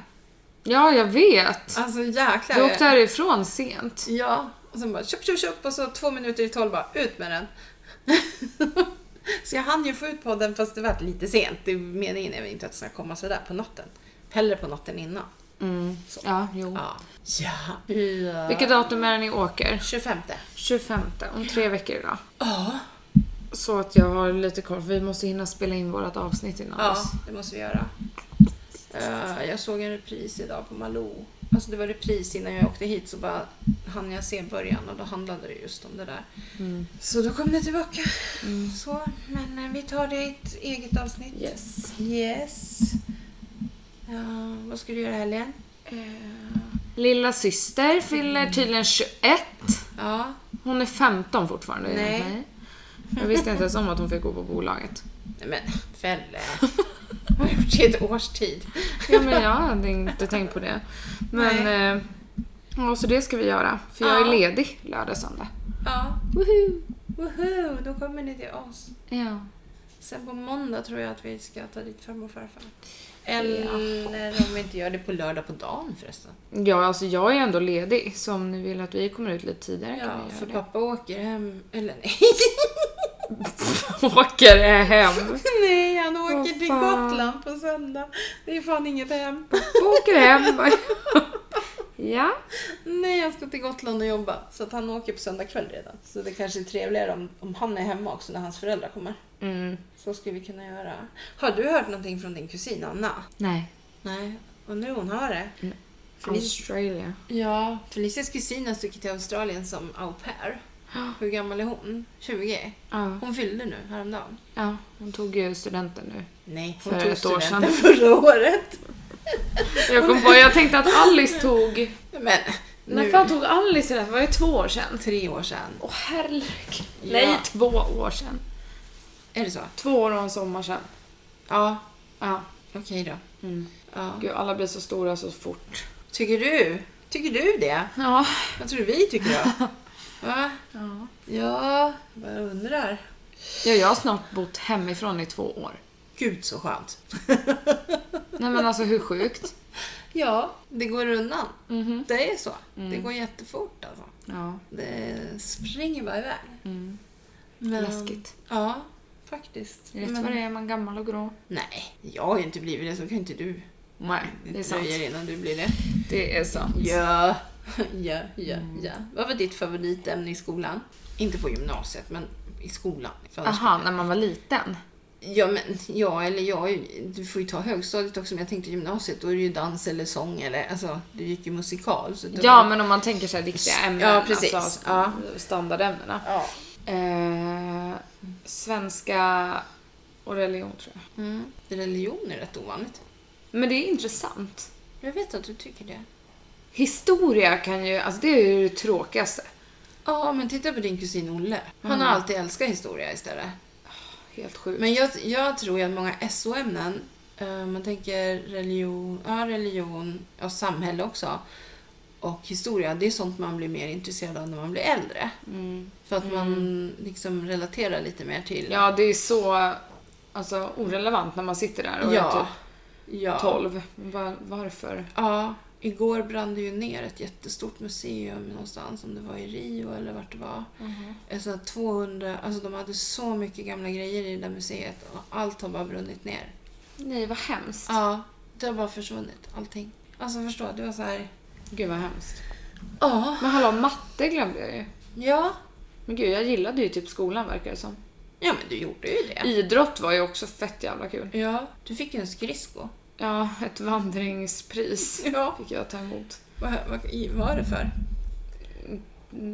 Speaker 1: Ja, jag vet.
Speaker 2: Alltså jäklar.
Speaker 1: Du åkte härifrån sent.
Speaker 2: Ja, och sen bara tjopp, tjopp, tjopp och så två minuter i tolv bara ut med den. så jag hann ju få ut podden fast det var lite sent. Det är meningen är väl inte att det ska komma sådär på natten. Hellre på natten innan.
Speaker 1: Mm. Ja, jo.
Speaker 2: Ja. Ja. ja.
Speaker 1: Vilket datum är det ni åker?
Speaker 2: 25.
Speaker 1: 25 om tre veckor idag.
Speaker 2: Ja.
Speaker 1: Så att jag har lite koll, för vi måste hinna spela in vårt avsnitt innan
Speaker 2: Ja,
Speaker 1: dess.
Speaker 2: det måste vi göra. Eh, jag såg en repris idag på Malou. Alltså det var repris innan jag åkte hit så bara hann jag se början och då handlade det just om det där. Så då kom det tillbaka. Så, men eh, vi tar det i ett eget avsnitt.
Speaker 1: Yes.
Speaker 2: Yes. Ja, vad ska du göra i helgen? Eh.
Speaker 1: Lilla syster fyller tydligen 21.
Speaker 2: Ja,
Speaker 1: Hon är 15 fortfarande.
Speaker 2: Nej.
Speaker 1: enligt mig. Jag visste inte ens om att hon fick gå på bolaget.
Speaker 2: nej men Felle. Har jag gjort det i ett års tid?
Speaker 1: Ja, men jag hade inte tänkt på det. Men, eh, ja, så det ska vi göra. För jag är
Speaker 2: Ja.
Speaker 1: ledig lördag, söndag.
Speaker 2: Ja,
Speaker 1: Woohoo!
Speaker 2: woho, då kommer ni till oss.
Speaker 1: Ja.
Speaker 2: Sen på måndag tror jag att vi ska ta dit farmor och farfar. Eller om vi inte gör det på lördag på dagen förresten.
Speaker 1: ja, alltså jag är ändå ledig. Så om ni vill att vi kommer ut lite tidigare kan
Speaker 2: Ja,
Speaker 1: vi
Speaker 2: för
Speaker 1: göra det.
Speaker 2: pappa åker hem... Eller nej.
Speaker 1: åker är hem.
Speaker 2: Nej, han åker
Speaker 1: Åh,
Speaker 2: till
Speaker 1: fan.
Speaker 2: Gotland på söndag. Det är fan inget hem.
Speaker 1: Åker hem. Ja.
Speaker 2: Nej, han ska till Gotland och jobba. Så att han åker på söndag kväll redan. Så det kanske är trevligare om, om han är hemma också när hans föräldrar kommer.
Speaker 1: Mm.
Speaker 2: Så skulle vi kunna göra. Har du hört någonting från din kusin Anna?
Speaker 1: Nej.
Speaker 2: Nej. Och nu hon har det. Felic-
Speaker 1: Australia.
Speaker 2: ja, Felicias kusin har stuckit till Australien som au pair. Hur gammal är hon? 20?
Speaker 1: Ja.
Speaker 2: Hon fyllde nu häromdagen.
Speaker 1: ja. Hon tog ju studenten nu.
Speaker 2: Nej,
Speaker 1: För
Speaker 2: hon tog
Speaker 1: ett år sedan.
Speaker 2: studenten förra året.
Speaker 1: Jag kom på, jag tänkte att Alice tog...
Speaker 2: Men
Speaker 1: När
Speaker 2: nu.
Speaker 1: fan tog Alice studenten? Det var ju två år sedan.
Speaker 2: Tre år sedan.
Speaker 1: Åh herregud.
Speaker 2: Ja.
Speaker 1: Nej, två år sedan.
Speaker 2: Är det så?
Speaker 1: Två år och en sommar sedan.
Speaker 2: Ja,
Speaker 1: Ja.
Speaker 2: okej då.
Speaker 1: Mm.
Speaker 2: Ja.
Speaker 1: Gud, alla blir så stora så fort.
Speaker 2: Tycker du? Tycker du det?
Speaker 1: Ja.
Speaker 2: Vad tror du vi tycker då? Va?
Speaker 1: Ja.
Speaker 2: Ja, vad jag undrar.
Speaker 1: ja. Jag har snart bott hemifrån i två år.
Speaker 2: Gud så skönt.
Speaker 1: Nej men alltså hur sjukt?
Speaker 2: Ja, det går undan.
Speaker 1: Mhm.
Speaker 2: Det är så. Det går jättefort alltså.
Speaker 1: Ja.
Speaker 2: Det springer bara iväg.
Speaker 1: Eh, Mm.
Speaker 2: Men-
Speaker 1: Läskigt.
Speaker 2: Ja, faktiskt.
Speaker 1: Rätt vad det är man gammal och grå.
Speaker 2: Nej, jag har ju inte blivit det så kan inte du.
Speaker 1: Nej, det är sant.
Speaker 2: dröjer innan du blir det.
Speaker 1: Det är Mm. sant.
Speaker 2: Ja, ja, ja, ja. Vad var ditt favoritämne i skolan? Inte på gymnasiet, men i skolan.
Speaker 1: Aha, när man var liten.
Speaker 2: Ja, men ja, eller jag, är ju- du får ju ta högstadiet också, men jag tänkte gymnasiet, då är det ju dans eller sång eller, alltså, du gick ju musikal. Så då-
Speaker 1: Ja, men om man tänker så här riktiga ämnen.
Speaker 2: Ja, precis.
Speaker 1: Alltså,
Speaker 2: Ja.
Speaker 1: Standardämnena.
Speaker 2: Ja.
Speaker 1: Eh, svenska och religion tror jag.
Speaker 2: Mm. Religion är rätt ovanligt.
Speaker 1: Men det är intressant.
Speaker 2: Jag vet att du tycker det.
Speaker 1: Historia kan ju, alltså det är ju det tråkigaste.
Speaker 2: Ja, men titta på din kusin Olle. Han
Speaker 1: Mm.
Speaker 2: har alltid älskat historia istället.
Speaker 1: Helt sjukt.
Speaker 2: Men jag, jag tror ju att många SO-ämnen, eh, man tänker religion, ja, religion och samhälle också, och historia, det är sånt man blir mer intresserad av när man blir äldre.
Speaker 1: Mm.
Speaker 2: För att man liksom relaterar lite mer till...
Speaker 1: Ja, det är så alltså, orelevant när man sitter där och är
Speaker 2: ja.
Speaker 1: typ
Speaker 2: ja.
Speaker 1: 12. Bara, varför?
Speaker 2: Ja, igår brann det ju ner ett jättestort museum någonstans, om det var i Rio eller vart det var. Alltså 200, alltså de hade så mycket gamla grejer i det där museet och allt har bara brunnit ner.
Speaker 1: Nej, vad hemskt.
Speaker 2: Ja, det har bara försvunnit allting. Alltså förstå, det var så här...
Speaker 1: Gud vad hemskt.
Speaker 2: Ja.
Speaker 1: Men hallå, matte glömde jag ju.
Speaker 2: Ja.
Speaker 1: Men gud, jag gillade ju typ skolan verkar det som.
Speaker 2: Ja, men du gjorde ju det.
Speaker 1: Idrott var ju också fett jävla kul.
Speaker 2: Ja, du fick ju en skridsko.
Speaker 1: Ja, ett vandringspris
Speaker 2: Ja.
Speaker 1: fick jag ta emot.
Speaker 2: Vad, vad i- vad var det för?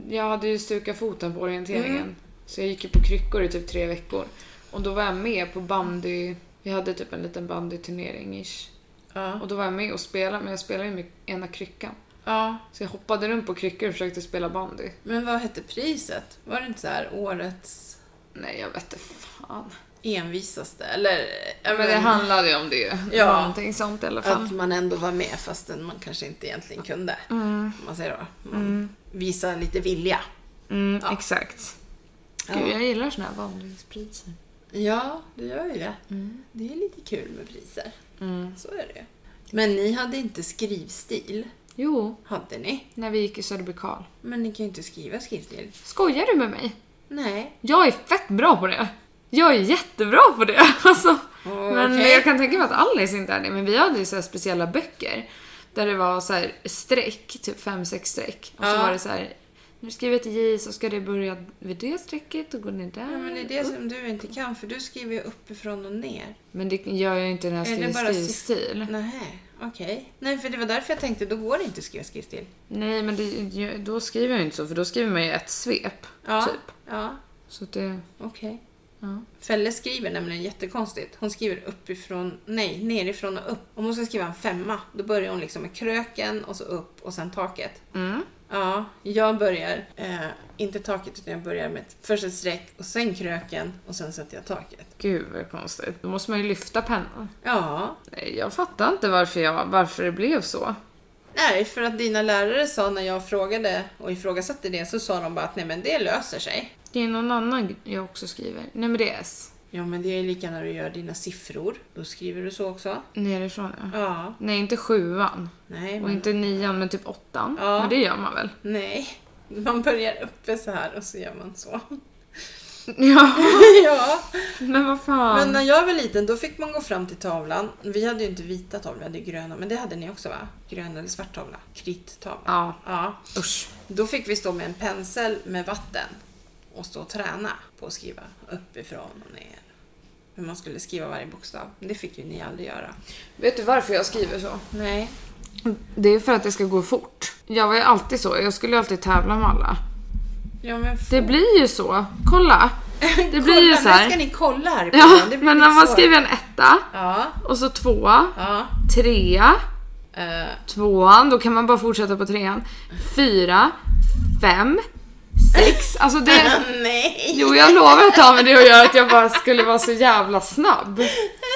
Speaker 1: Jag hade ju stukat foten på orienteringen.
Speaker 2: Mm.
Speaker 1: Så jag gick ju på kryckor i typ tre veckor. Och då var jag med på bandy. Vi hade typ en liten bandyturnering ish.
Speaker 2: Ja.
Speaker 1: Och då var jag med och spelade, men jag spelade ju med ena kryckan.
Speaker 2: ja.
Speaker 1: Så jag hoppade runt på kryckor och försökte spela bandy.
Speaker 2: Men vad hette priset? Var det inte så här årets
Speaker 1: Nej, jag vet inte fan.
Speaker 2: envisaste? Eller?
Speaker 1: Men det handlade ju om det ju.
Speaker 2: Ja.
Speaker 1: Någonting sånt i alla fall.
Speaker 2: Att man ändå var med fastän man kanske inte egentligen kunde. Om man säger då. Man visar lite vilja.
Speaker 1: Mm, Exakt. Gud,
Speaker 2: Ja.
Speaker 1: jag gillar såna här vandringspriser.
Speaker 2: ja, du gör ju det. Det är lite kul med priser.
Speaker 1: Mm.
Speaker 2: Så är det ju. Men ni hade inte skrivstil,
Speaker 1: Jo,
Speaker 2: hade ni?
Speaker 1: när vi gick i Söderby Karl.
Speaker 2: Men ni kan ju inte skriva skrivstil.
Speaker 1: Skojar du med mig?
Speaker 2: Nej.
Speaker 1: Jag är fett bra på det. Jag är jättebra på det. Alltså. Men
Speaker 2: okej.
Speaker 1: jag kan tänka mig att Alice inte är det. Men vi hade ju så här speciella böcker. Där det var så här streck, typ fem sex streck. Och så
Speaker 2: Ja.
Speaker 1: var det så här. När du skriver ett J så ska det börja vid det strecket och gå ner där.
Speaker 2: Ja, men det är det som du inte kan, för du skriver ju uppifrån och ner.
Speaker 1: Men det gör jag ju inte när jag
Speaker 2: Är det
Speaker 1: skriver
Speaker 2: bara Mm.
Speaker 1: skrivstil.
Speaker 2: Nej, okej. Nej, för det var därför jag tänkte, då går det inte att skriva skrivstil.
Speaker 1: Nej, men det, då skriver jag ju inte så. För då skriver man ju ett svep.
Speaker 2: Ja,
Speaker 1: Typ.
Speaker 2: ja
Speaker 1: Så att det...
Speaker 2: okej.
Speaker 1: Ja.
Speaker 2: Felle skriver nämligen jättekonstigt. Hon skriver uppifrån, nej, nerifrån och upp. Om hon ska skriva en femma, då börjar hon liksom med kröken och så upp och sen taket.
Speaker 1: Mm.
Speaker 2: Ja, jag börjar, eh, inte taket, utan jag börjar med ett- först ett streck och sen kröken och sen sätter jag taket.
Speaker 1: Gud vad konstigt. Då måste man ju lyfta pennan.
Speaker 2: Ja,
Speaker 1: Nej, jag fattar inte varför, jag, varför det blev så.
Speaker 2: Nej, för att dina lärare sa när jag frågade och ifrågasatte det så sa de bara att nej men det löser sig.
Speaker 1: Det är någon annan jag också skriver. Nej men det är S.
Speaker 2: Ja men det är lika när du gör dina siffror. Då skriver du så också.
Speaker 1: Nerifrån ja.
Speaker 2: Ja,
Speaker 1: Nej, inte sjuan.
Speaker 2: nej
Speaker 1: Och
Speaker 2: men
Speaker 1: inte nian, men typ åttan.
Speaker 2: Ja.
Speaker 1: Men det gör man väl?
Speaker 2: nej. Man börjar uppe så här och så gör man så.
Speaker 1: Ja,
Speaker 2: ja.
Speaker 1: men vad fan.
Speaker 2: Men eh, när jag var liten då fick man gå fram till tavlan. Vi hade ju inte vita tavlor, vi hade gröna. Men det hade ni också va? Grön eller svart tavla? Krittavla.
Speaker 1: Ja,
Speaker 2: Ja.
Speaker 1: usch.
Speaker 2: Då fick vi stå med en pensel med vatten och stå och träna på att skriva uppifrån och ner. Hur man skulle skriva varje bokstav. Men Det fick ju ni aldrig göra.
Speaker 4: Vet du varför jag skriver så?
Speaker 2: Nej.
Speaker 1: Det är för att det ska gå fort. Jag var ju alltid så, jag skulle ju alltid tävla med alla.
Speaker 2: Ja, men f-
Speaker 1: Det blir ju så, kolla. Det blir ju
Speaker 2: kolla,
Speaker 1: så
Speaker 2: Nu ska
Speaker 1: här.
Speaker 2: ni kolla här i
Speaker 1: Ja,
Speaker 2: podden. Det blir
Speaker 1: men
Speaker 2: lite
Speaker 1: när man
Speaker 2: svårt.
Speaker 1: skriver en etta
Speaker 2: Ja,
Speaker 1: och så tvåa,
Speaker 2: ja.
Speaker 1: trea,
Speaker 2: eh,
Speaker 1: tvåan, då kan man bara fortsätta på trean. Fyra, fem, sex. Alltså det...
Speaker 2: nej!
Speaker 1: Jo, jag lovar att det har med det att göra att jag bara skulle vara så jävla snabb.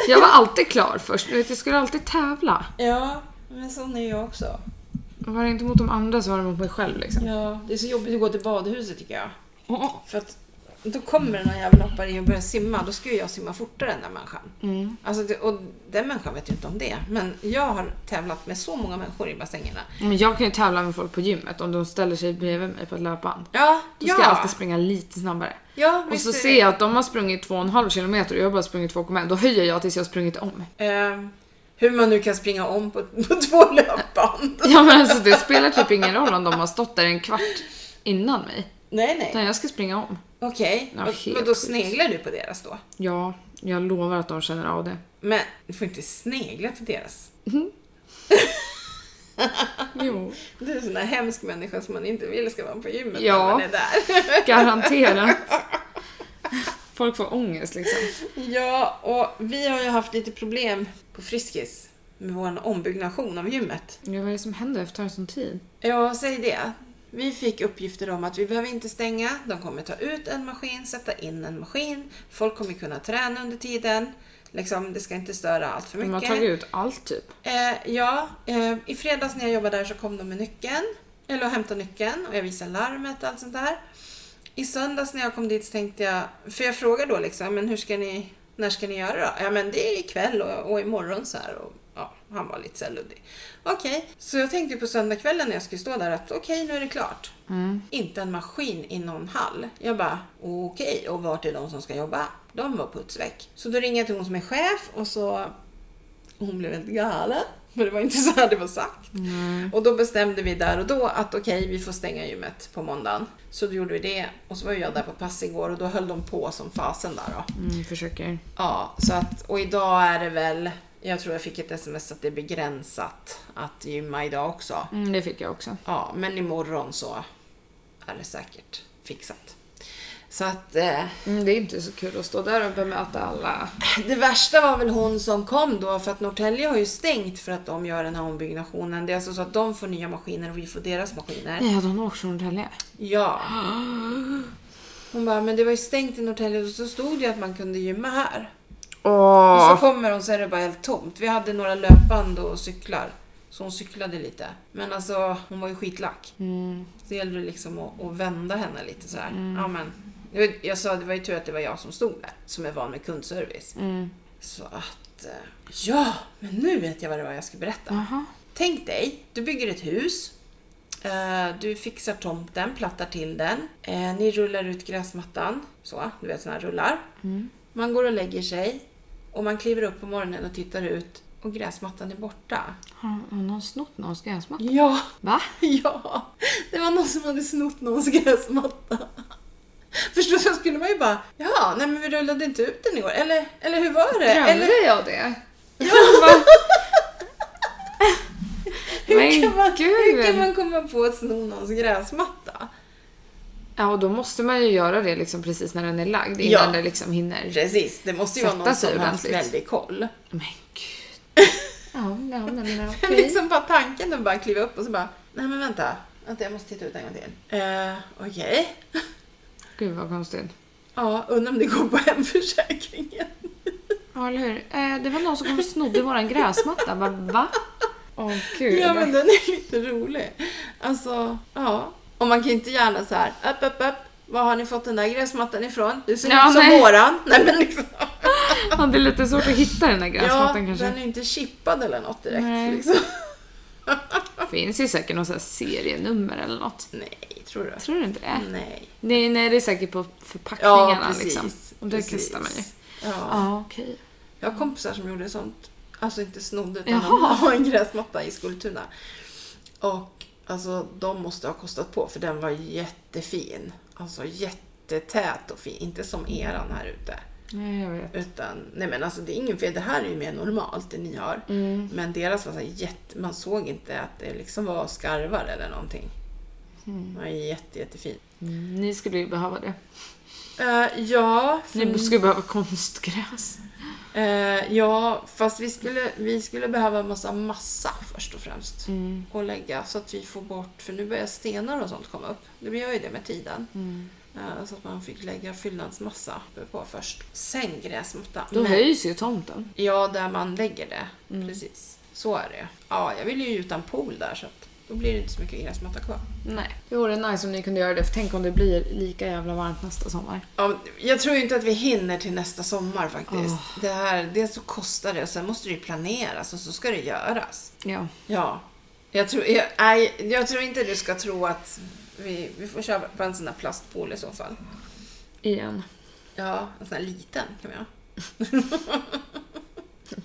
Speaker 1: Jag var alltid klar först, du vet jag skulle alltid tävla.
Speaker 2: Ja, men sån är jag också.
Speaker 1: Var det inte mot de andra så var det mot mig själv liksom.
Speaker 2: Ja, det är så jobbigt att gå till badhuset tycker jag.
Speaker 1: Åh, åh.
Speaker 2: För att då kommer den här jäveln hoppar in och börjar simma. Då ska ju jag simma fortare än den människan. Alltså, det- och den människan vet ju inte om det. Men jag har tävlat med så många människor i bassängerna.
Speaker 1: Men jag kan ju tävla med folk på gymmet om de ställer sig bredvid mig på ett löpband.
Speaker 2: Ja,
Speaker 1: Då ska jag
Speaker 2: ja.
Speaker 1: alltid springa lite snabbare.
Speaker 2: ja
Speaker 1: Och så
Speaker 2: visst är
Speaker 1: ser jag att de har sprungit 2,5 kilometer och jag har bara sprungit 2,1. Då höjer jag tills jag har sprungit om.
Speaker 2: det. Eh, hur man nu kan springa om på, på två löpband.
Speaker 1: Ja men alltså det spelar typ ingen roll om de har stått där en kvart innan mig.
Speaker 2: Nej, nej.
Speaker 1: Utan jag ska springa om.
Speaker 2: Okej.
Speaker 1: Ja,
Speaker 2: Och,
Speaker 1: helt
Speaker 2: men då
Speaker 1: sjukt.
Speaker 2: sneglar du på deras då?
Speaker 1: Ja, jag lovar att de känner av det.
Speaker 2: Men du får inte snegla på deras.
Speaker 1: Jo,
Speaker 2: Du är en sån där hemsk människa som man inte vill ska vara på gymmet
Speaker 1: Ja.
Speaker 2: när man är där.
Speaker 1: garanterat. Folk får ångest liksom.
Speaker 2: Ja, och vi har ju haft lite problem på Friskis med vår ombyggnation av gymmet.
Speaker 1: Ja, vad är det som händer? Varför tar det sån tid?
Speaker 2: Ja, säg det. Vi fick uppgifter om att vi behöver inte stänga. De kommer ta ut en maskin, sätta in en maskin. Folk kommer kunna träna under tiden. Liksom, det ska inte störa allt för
Speaker 1: De har
Speaker 2: mycket.
Speaker 1: tagit ut allt typ.
Speaker 2: Eh, ja, eh, i fredags när jag jobbade där så kom de med nyckeln. Eller och hämtade nyckeln och jag visade larmet och allt sånt där. I söndags när jag kom dit så tänkte jag, för jag frågade då liksom, men hur ska ni, när ska ni göra då? Ja men det är ikväll och, och imorgon så här. Och, ja, han var lite så här luddig. Okej, så jag tänkte på söndagskvällen när jag skulle stå där att okej nu är det klart. Inte en maskin i någon hall. Jag bara okej, och vart är de som ska jobba? De var putsväck. Så då ringde jag till hon som är chef och så hon blev helt galen. Men det var inte så här det var sagt. Och då bestämde vi där och då att okej, vi får stänga gymmet på måndagen. Så då gjorde vi det. Och så var jag där på pass igår och då höll de på som fasen där då.
Speaker 1: Mm, försöker.
Speaker 2: Ja, så att, och idag är det väl, jag tror jag fick ett sms att det är begränsat att gymma idag också.
Speaker 1: Mm, det fick jag också.
Speaker 2: Ja, men imorgon så är det säkert fixat. Så att eh,
Speaker 1: Mm, det är inte så kul att stå där och bemöta alla.
Speaker 2: Det värsta var väl hon som kom då för att Norrtälje har ju stängt för att de gör den här ombyggnationen. Det är alltså så att de får nya maskiner och vi får deras maskiner.
Speaker 1: Nej, hade hon åkt från Norrtälje?
Speaker 2: Ja. Hon bara, men det var ju stängt i Norrtälje och så stod det ju att man kunde gymma här. Och så
Speaker 1: Åh!
Speaker 2: kommer hon så är det bara helt tomt. Vi hade några löpband och cyklar. Så hon cyklade lite. Men alltså hon var ju skitlack.
Speaker 1: Mm.
Speaker 2: Så det gällde det liksom att, att vända henne lite så här. Ja, men, jag- jag sa det var ju tur att det var jag som stod där. Som är van med kundservice.
Speaker 1: Mm.
Speaker 2: Så att... eh, Ja, men nu vet jag vad det var jag skulle berätta.
Speaker 1: Jaha.
Speaker 2: Tänk dig, du bygger ett hus. eh, Du fixar tomten, plattar till den. eh, Ni rullar ut gräsmattan. Så, du vet såna här rullar. Man går och lägger sig. Och man kliver upp på morgonen och tittar ut. Och gräsmattan är borta.
Speaker 1: Har har någon snott någons gräsmatta?
Speaker 2: Ja,
Speaker 1: Va?
Speaker 2: ja. Det var någon som hade snott någons gräsmatta. Förstår du? Så skulle man ju bara, ja, nej men vi rullade inte ut den i år. Eller, eller hur var det?
Speaker 1: Drömde
Speaker 2: Eller,
Speaker 1: jag det? Ja.
Speaker 2: Hur kan, man,
Speaker 1: Men
Speaker 2: hur
Speaker 1: gud!
Speaker 2: kan man komma på att sno någons gräsmatta?
Speaker 1: Ja, och då måste man ju göra det liksom precis när den är lagd innan
Speaker 2: Ja.
Speaker 1: det liksom hinner.
Speaker 2: Precis, det måste ju
Speaker 1: Sätta
Speaker 2: vara någon
Speaker 1: sig
Speaker 2: som har haft
Speaker 1: ordentligt.
Speaker 2: väldigt koll.
Speaker 1: Men gud. Ja, ja, nej, men
Speaker 2: Men
Speaker 1: okej.
Speaker 2: Liksom bara tanken att bara kliva upp och så bara, nej men vänta, vänta jag måste titta ut en gång till. Eh, okej.
Speaker 1: Gud vad konstigt.
Speaker 2: Ja, undrar om det går på hemförsäkringen.
Speaker 1: Ja, eller hur? Eh, det var någon som kom och snodde våran gräsmatta. Va? Va? Åh gud.
Speaker 2: Ja men den är lite rolig. Alltså, ja. Och man kan ju inte gärna så här, upp, upp, upp. Var har ni fått den där gräsmattan ifrån? Du ser
Speaker 1: Ja,
Speaker 2: ut som
Speaker 1: nej.
Speaker 2: våran. Nej men liksom.
Speaker 1: Ja, det är lite svårt att hitta den där
Speaker 2: Ja,
Speaker 1: gräsmattan
Speaker 2: den
Speaker 1: kanske.
Speaker 2: liksom. är ju inte chippad eller något direkt.
Speaker 1: Nej.
Speaker 2: Liksom.
Speaker 1: finns ju säkert någon sån här serienummer eller något.
Speaker 2: Nej, tror du?
Speaker 1: Tror du inte det?
Speaker 2: Nej.
Speaker 1: Nej, nej det är säkert på förpackningarna liksom. Och det
Speaker 2: precis.
Speaker 1: kastar man ju.
Speaker 2: Ja.
Speaker 1: Ja, okej.
Speaker 2: Jag har kompisar som gjorde sånt. Alltså inte snodde utan
Speaker 1: Jaha.
Speaker 2: de la en gräsmatta i Skultuna. Och alltså de måste ha kostat på för den var jättefin. Alltså jättetät och fin. Inte som eran här ute.
Speaker 1: Nej, jag vet.
Speaker 2: Utan, nej men alltså det är ingen fel. Det här är ju mer normalt det ni har.
Speaker 1: Mm.
Speaker 2: Men deras var så här jätte... Man såg inte att det liksom var skarvar eller någonting. Den var jätte, jättefin.
Speaker 1: Mm. Ni skulle ju behöva det.
Speaker 2: Eh, ja, för
Speaker 1: Ni skulle behöva konstgräs.
Speaker 2: Eh, ja, fast vi skulle, vi skulle behöva en massa massa först och främst.
Speaker 1: Mm.
Speaker 2: Och lägga så att vi får bort, för nu börjar stenar och sånt komma upp. Det gör ju det med tiden.
Speaker 1: Mm.
Speaker 2: Eh, så att man fick lägga fyllnadsmassa på först. Sen gräsmatta.
Speaker 1: Då Mm.
Speaker 2: Men-
Speaker 1: höjs ju tomten.
Speaker 2: Ja, där man lägger det. Precis. Så är det Ja, jag vill ju gjuta en pool där så att då blir det inte så mycket gräsmatta kvar.
Speaker 1: Nej. Det vore nice om ni kunde göra det, för tänk om det blir lika jävla varmt nästa sommar.
Speaker 2: Ja, men jag tror ju inte att vi hinner till nästa sommar faktiskt. Det här, dels så kostar det och sen måste det ju planeras och så ska det göras.
Speaker 1: Ja.
Speaker 2: Ja. Jag tror, jag, nej, jag tror inte du ska tro att vi, vi får köpa en sån där plastpool i så fall.
Speaker 1: Igen.
Speaker 2: Ja, en sån här liten kan vi ha.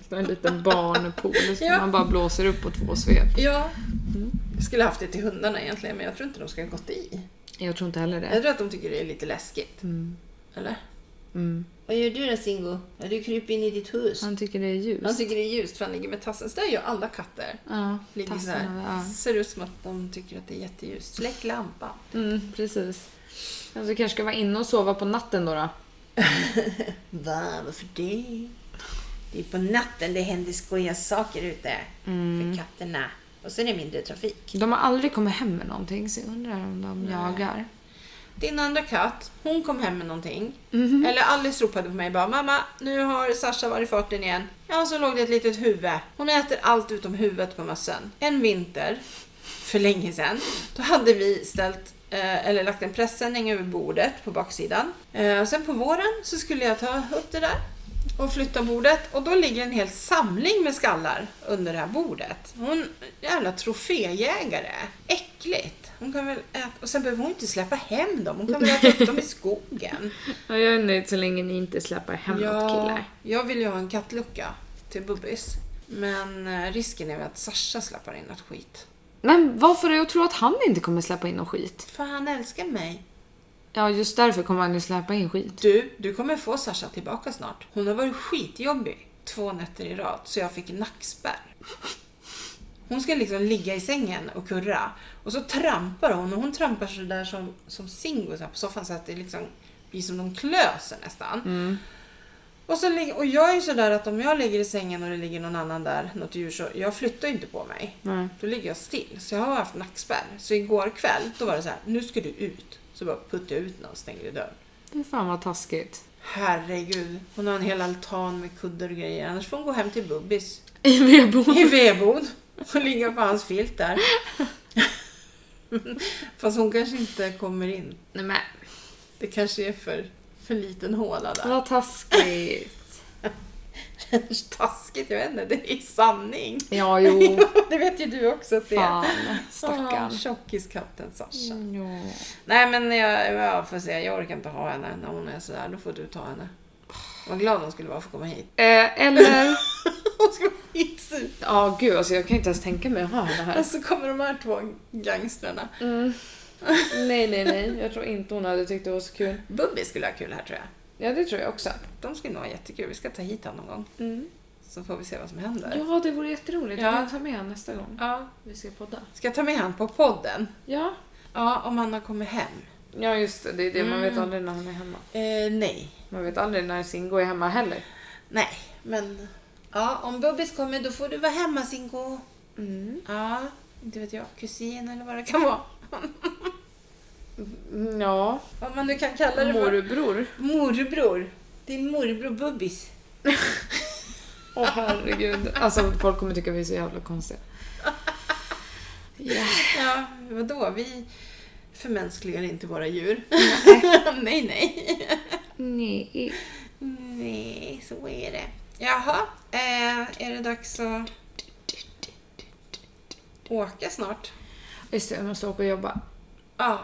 Speaker 1: Det är en liten barnpool som
Speaker 2: Ja.
Speaker 1: man bara blåser upp på två svep.
Speaker 2: Ja.
Speaker 1: Mm.
Speaker 2: Jag skulle haft det till hundarna egentligen, men jag tror inte de ska ha gått i.
Speaker 1: Jag tror inte heller det.
Speaker 2: Jag tror att de tycker det är lite läskigt. Eller?
Speaker 1: Mm.
Speaker 2: Vad gör du då Singo? Ja, du kryper in i ditt hus.
Speaker 1: Han tycker det är
Speaker 2: Han
Speaker 1: ljust.
Speaker 2: tycker det är ljust för han ligger med tassen. Så där gör alla katter.
Speaker 1: Ja,
Speaker 2: Ligger så
Speaker 1: tassen över-
Speaker 2: här.
Speaker 1: ja.
Speaker 2: Ser ut som att de tycker att det är jätteljust. Släck lampan.
Speaker 1: Mm, precis. Alltså, du kanske ska vara inne och sova på natten då? då?
Speaker 2: Va, varför det? Det är på natten det händer skojiga saker ute. För katterna. Och så är det mindre trafik.
Speaker 1: De har aldrig kommit hem med någonting så jag undrar om de jagar.
Speaker 2: Din andra katt, hon kom hem med någonting. Eller Alice ropade på mig bara Mamma, nu har Sasha varit i farten igen. Ja, så låg det ett litet huvud. Hon äter allt utom huvudet på mössen. En vinter, för länge sedan, då hade vi ställt eh, eller lagt en presenning över bordet på baksidan. Eh, och Sen på våren så skulle jag ta upp det där och flytta bordet och då ligger en hel samling med skallar under det här bordet. Hon är jävla troféjägare. Äckligt. Hon kan väl äta, och sen behöver hon inte släppa hem dem. Hon kan väl äta upp dem i skogen.
Speaker 1: Ja, jag är nöjd så länge ni inte släpper hem något killar.
Speaker 2: jag vill ju ha en kattlucka till Bubbis. Men eh, risken är väl att Sasha släpper in något skit.
Speaker 1: Men vad får dig att tro att han inte kommer släppa in någon skit?
Speaker 2: För han älskar mig.
Speaker 1: Ja, just därför kommer han ju släppa in skit.
Speaker 2: Du, du kommer få Sasha tillbaka snart. Hon har varit skitjobbig två nätter i rad, så jag fick nackspärr. Hon ska liksom ligga i sängen och kurra. Och så trampar hon och hon trampar så där som, som Singo så här på soffan så att det liksom blir som de klöser nästan. Och, så, ligger- och jag är ju sådär att om jag ligger i sängen och det ligger någon annan där, något djur, så jag flyttar ju inte på mig.
Speaker 1: Nej.
Speaker 2: Då ligger jag still. Så jag har haft nackspärr. Så igår kväll, då var det så här, nu ska du ut. Så bara puttade jag ut någon och stängde dörren.
Speaker 1: Fy fan vad taskigt.
Speaker 2: Herregud, hon har en hel altan med kuddar och grejer. Annars får hon gå hem till Bubbis
Speaker 1: I vedboden.
Speaker 2: i vedbod och ligga på hans filt där. Fast hon kanske inte kommer in.
Speaker 1: Nej men,
Speaker 2: Det kanske är för, för liten håla där.
Speaker 1: vad taskigt.
Speaker 2: Mm. Taskigt, jag vet inte. Det är sanning.
Speaker 1: Ja, jo.
Speaker 2: det vet ju du också att det är.
Speaker 1: Fan, stackarn.
Speaker 2: Ah, Tjockiskatten Sasha.
Speaker 1: Ja.
Speaker 2: Nej men jag, jag får se, jag orkar inte ha henne när hon är sådär. Då får du ta henne. Vad glad hon skulle vara för att komma hit.
Speaker 1: Eh, eller...
Speaker 2: Hon skulle vara skitsur.
Speaker 1: Ja, gud alltså jag kan inte ens tänka mig att ha henne här.
Speaker 2: Och så kommer de här två gangstrarna.
Speaker 1: Mm. Nej, nej, nej. Jag tror inte hon hade tyckt det var så kul.
Speaker 2: Bubbi skulle ha kul här tror jag.
Speaker 1: Ja, det tror jag också.
Speaker 2: De skulle nog ha jättekul. Vi ska ta hit honom någon gång. Så får vi se vad som händer.
Speaker 1: Ja, det vore jätteroligt.
Speaker 2: Ja.
Speaker 1: Jag kan ta med henne nästa gång
Speaker 2: Ja.
Speaker 1: vi ska podda.
Speaker 2: Ska jag ta med han på podden?
Speaker 1: Ja.
Speaker 2: Ja, om han har kommit hem.
Speaker 1: Ja, just det. Det är det. Man vet aldrig när hon är hemma.
Speaker 2: Eh, nej.
Speaker 1: Man vet aldrig när Singo är hemma heller.
Speaker 2: Nej, men... Ja, om Bubbis kommer då får du vara hemma Singo.
Speaker 1: Mm.
Speaker 2: Ja, inte vet jag. Kusin eller vad det kan vara.
Speaker 1: Ja.
Speaker 2: Vad man nu kan kalla det för.
Speaker 1: Morbror.
Speaker 2: Morbror. Din morbror Bubbis.
Speaker 1: Åh herregud. Alltså folk kommer tycka vi är så jävla konstiga. Ja.
Speaker 2: Ja, vadå? Vi förmänskligar inte våra djur. nej, nej.
Speaker 1: Nej.
Speaker 2: Nej, så är det. Jaha, eh, är det dags att åka snart.
Speaker 1: Just det, jag måste åka och jobba.
Speaker 2: Ja,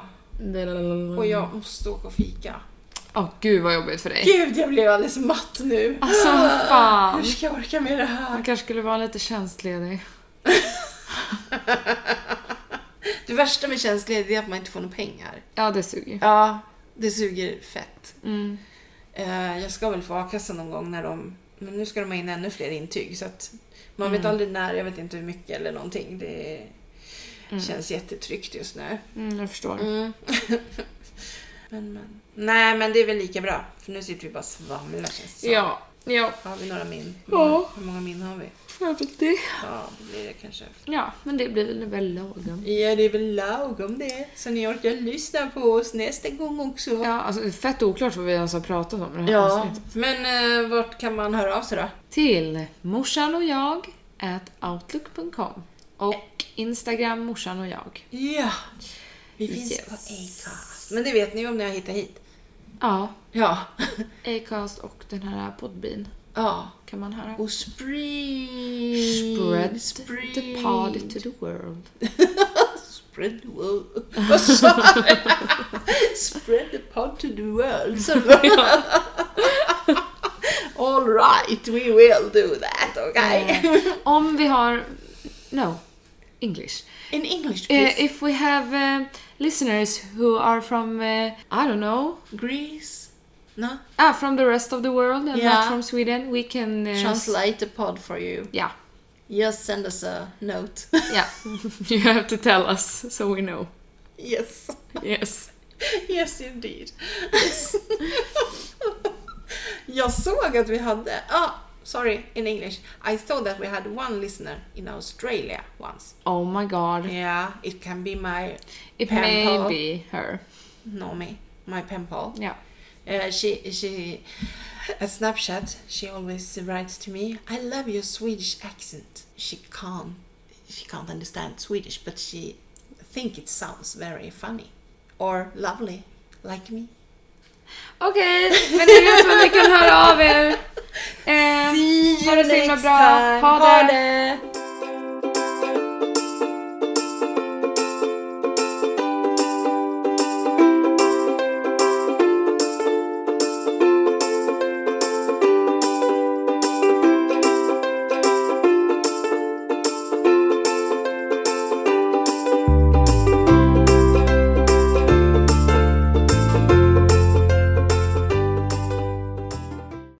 Speaker 2: och jag måste åka och fika.
Speaker 1: Åh gud vad jobbigt för dig.
Speaker 2: Gud, jag blev alldeles matt nu.
Speaker 1: Alltså fan.
Speaker 2: Hur ska jag orka med det här?
Speaker 1: Man kanske skulle vara lite tjänstledig.
Speaker 2: Det värsta med tjänstledighet är att man inte får några pengar.
Speaker 1: Ja, det suger.
Speaker 2: Ja. Det suger fett.
Speaker 1: Mm.
Speaker 2: Eh, Jag ska väl få a-kassa någon gång när de... Men nu ska de ha in ännu fler intyg så att man vet aldrig när, jag vet inte hur mycket eller någonting. Det känns jättetryggt just nu.
Speaker 1: Mm, jag förstår.
Speaker 2: men, men. Nej men det är väl lika bra. För nu sitter vi bara och svamlar känns det som.
Speaker 1: Ja, ja.
Speaker 2: Har vi några min?
Speaker 1: Ja.
Speaker 2: Hur många min har vi? Ja, det blir det kanske.
Speaker 1: Ja, men det blir väl lagom.
Speaker 2: Ja, det är väl lagom det. Så ni orkar lyssna på oss nästa gång också.
Speaker 1: Ja, alltså det är fett oklart vad vi ens har pratat om i det här
Speaker 2: Ja,
Speaker 1: avsnittet.
Speaker 2: men eh, vart kan man höra av sig då?
Speaker 1: Till morsan och jag at outlook.com och Instagram morsan och jag.
Speaker 2: Ja, vi finns
Speaker 1: Yes.
Speaker 2: på Acast. Men det vet ni ju om ni har hittat hit.
Speaker 1: Ja,
Speaker 2: Ja.
Speaker 1: Acast och den här podbean
Speaker 2: ja.
Speaker 1: kan man höra.
Speaker 2: Och spring...
Speaker 1: Spread
Speaker 2: spring.
Speaker 1: the pod to the world.
Speaker 2: Spread the world. Vad sa jag? Spread the pod to the world. sa du. All right, we will do that, okay?
Speaker 1: Eh, om vi har... No. English.
Speaker 2: Uh, In English, please.
Speaker 1: Eh, if we have eh, listeners who are from, eh, I don't know,
Speaker 2: Greece? No?
Speaker 1: ah, from the rest of the world and
Speaker 2: Yeah.
Speaker 1: not from Sweden, we can... eh,
Speaker 2: Translate the pod for you.
Speaker 1: Yeah,
Speaker 2: Just send us a note.
Speaker 1: yeah. you have to tell us so we know.
Speaker 2: yes.
Speaker 1: Yes.
Speaker 2: Yes indeed. Jag såg att vi hade... Ah, sorry, in English. I saw that we had one listener in Australia once.
Speaker 1: Oh my god.
Speaker 2: Yeah, it can be my
Speaker 1: It
Speaker 2: Pen
Speaker 1: may
Speaker 2: pal.
Speaker 1: be her.
Speaker 2: Nomi, my pen pal.
Speaker 1: Yeah.
Speaker 2: Uh, she she at Snapchat she always writes to me, I love your Swedish accent. She can't she can't understand Swedish, but she think it sounds very funny or lovely, like me.
Speaker 1: Okej, men ni vet var ni kan höra av er. Eh,
Speaker 2: See
Speaker 1: ha
Speaker 2: you
Speaker 1: det så himla
Speaker 2: next
Speaker 1: bra.
Speaker 2: time.
Speaker 1: Ha det.
Speaker 2: det.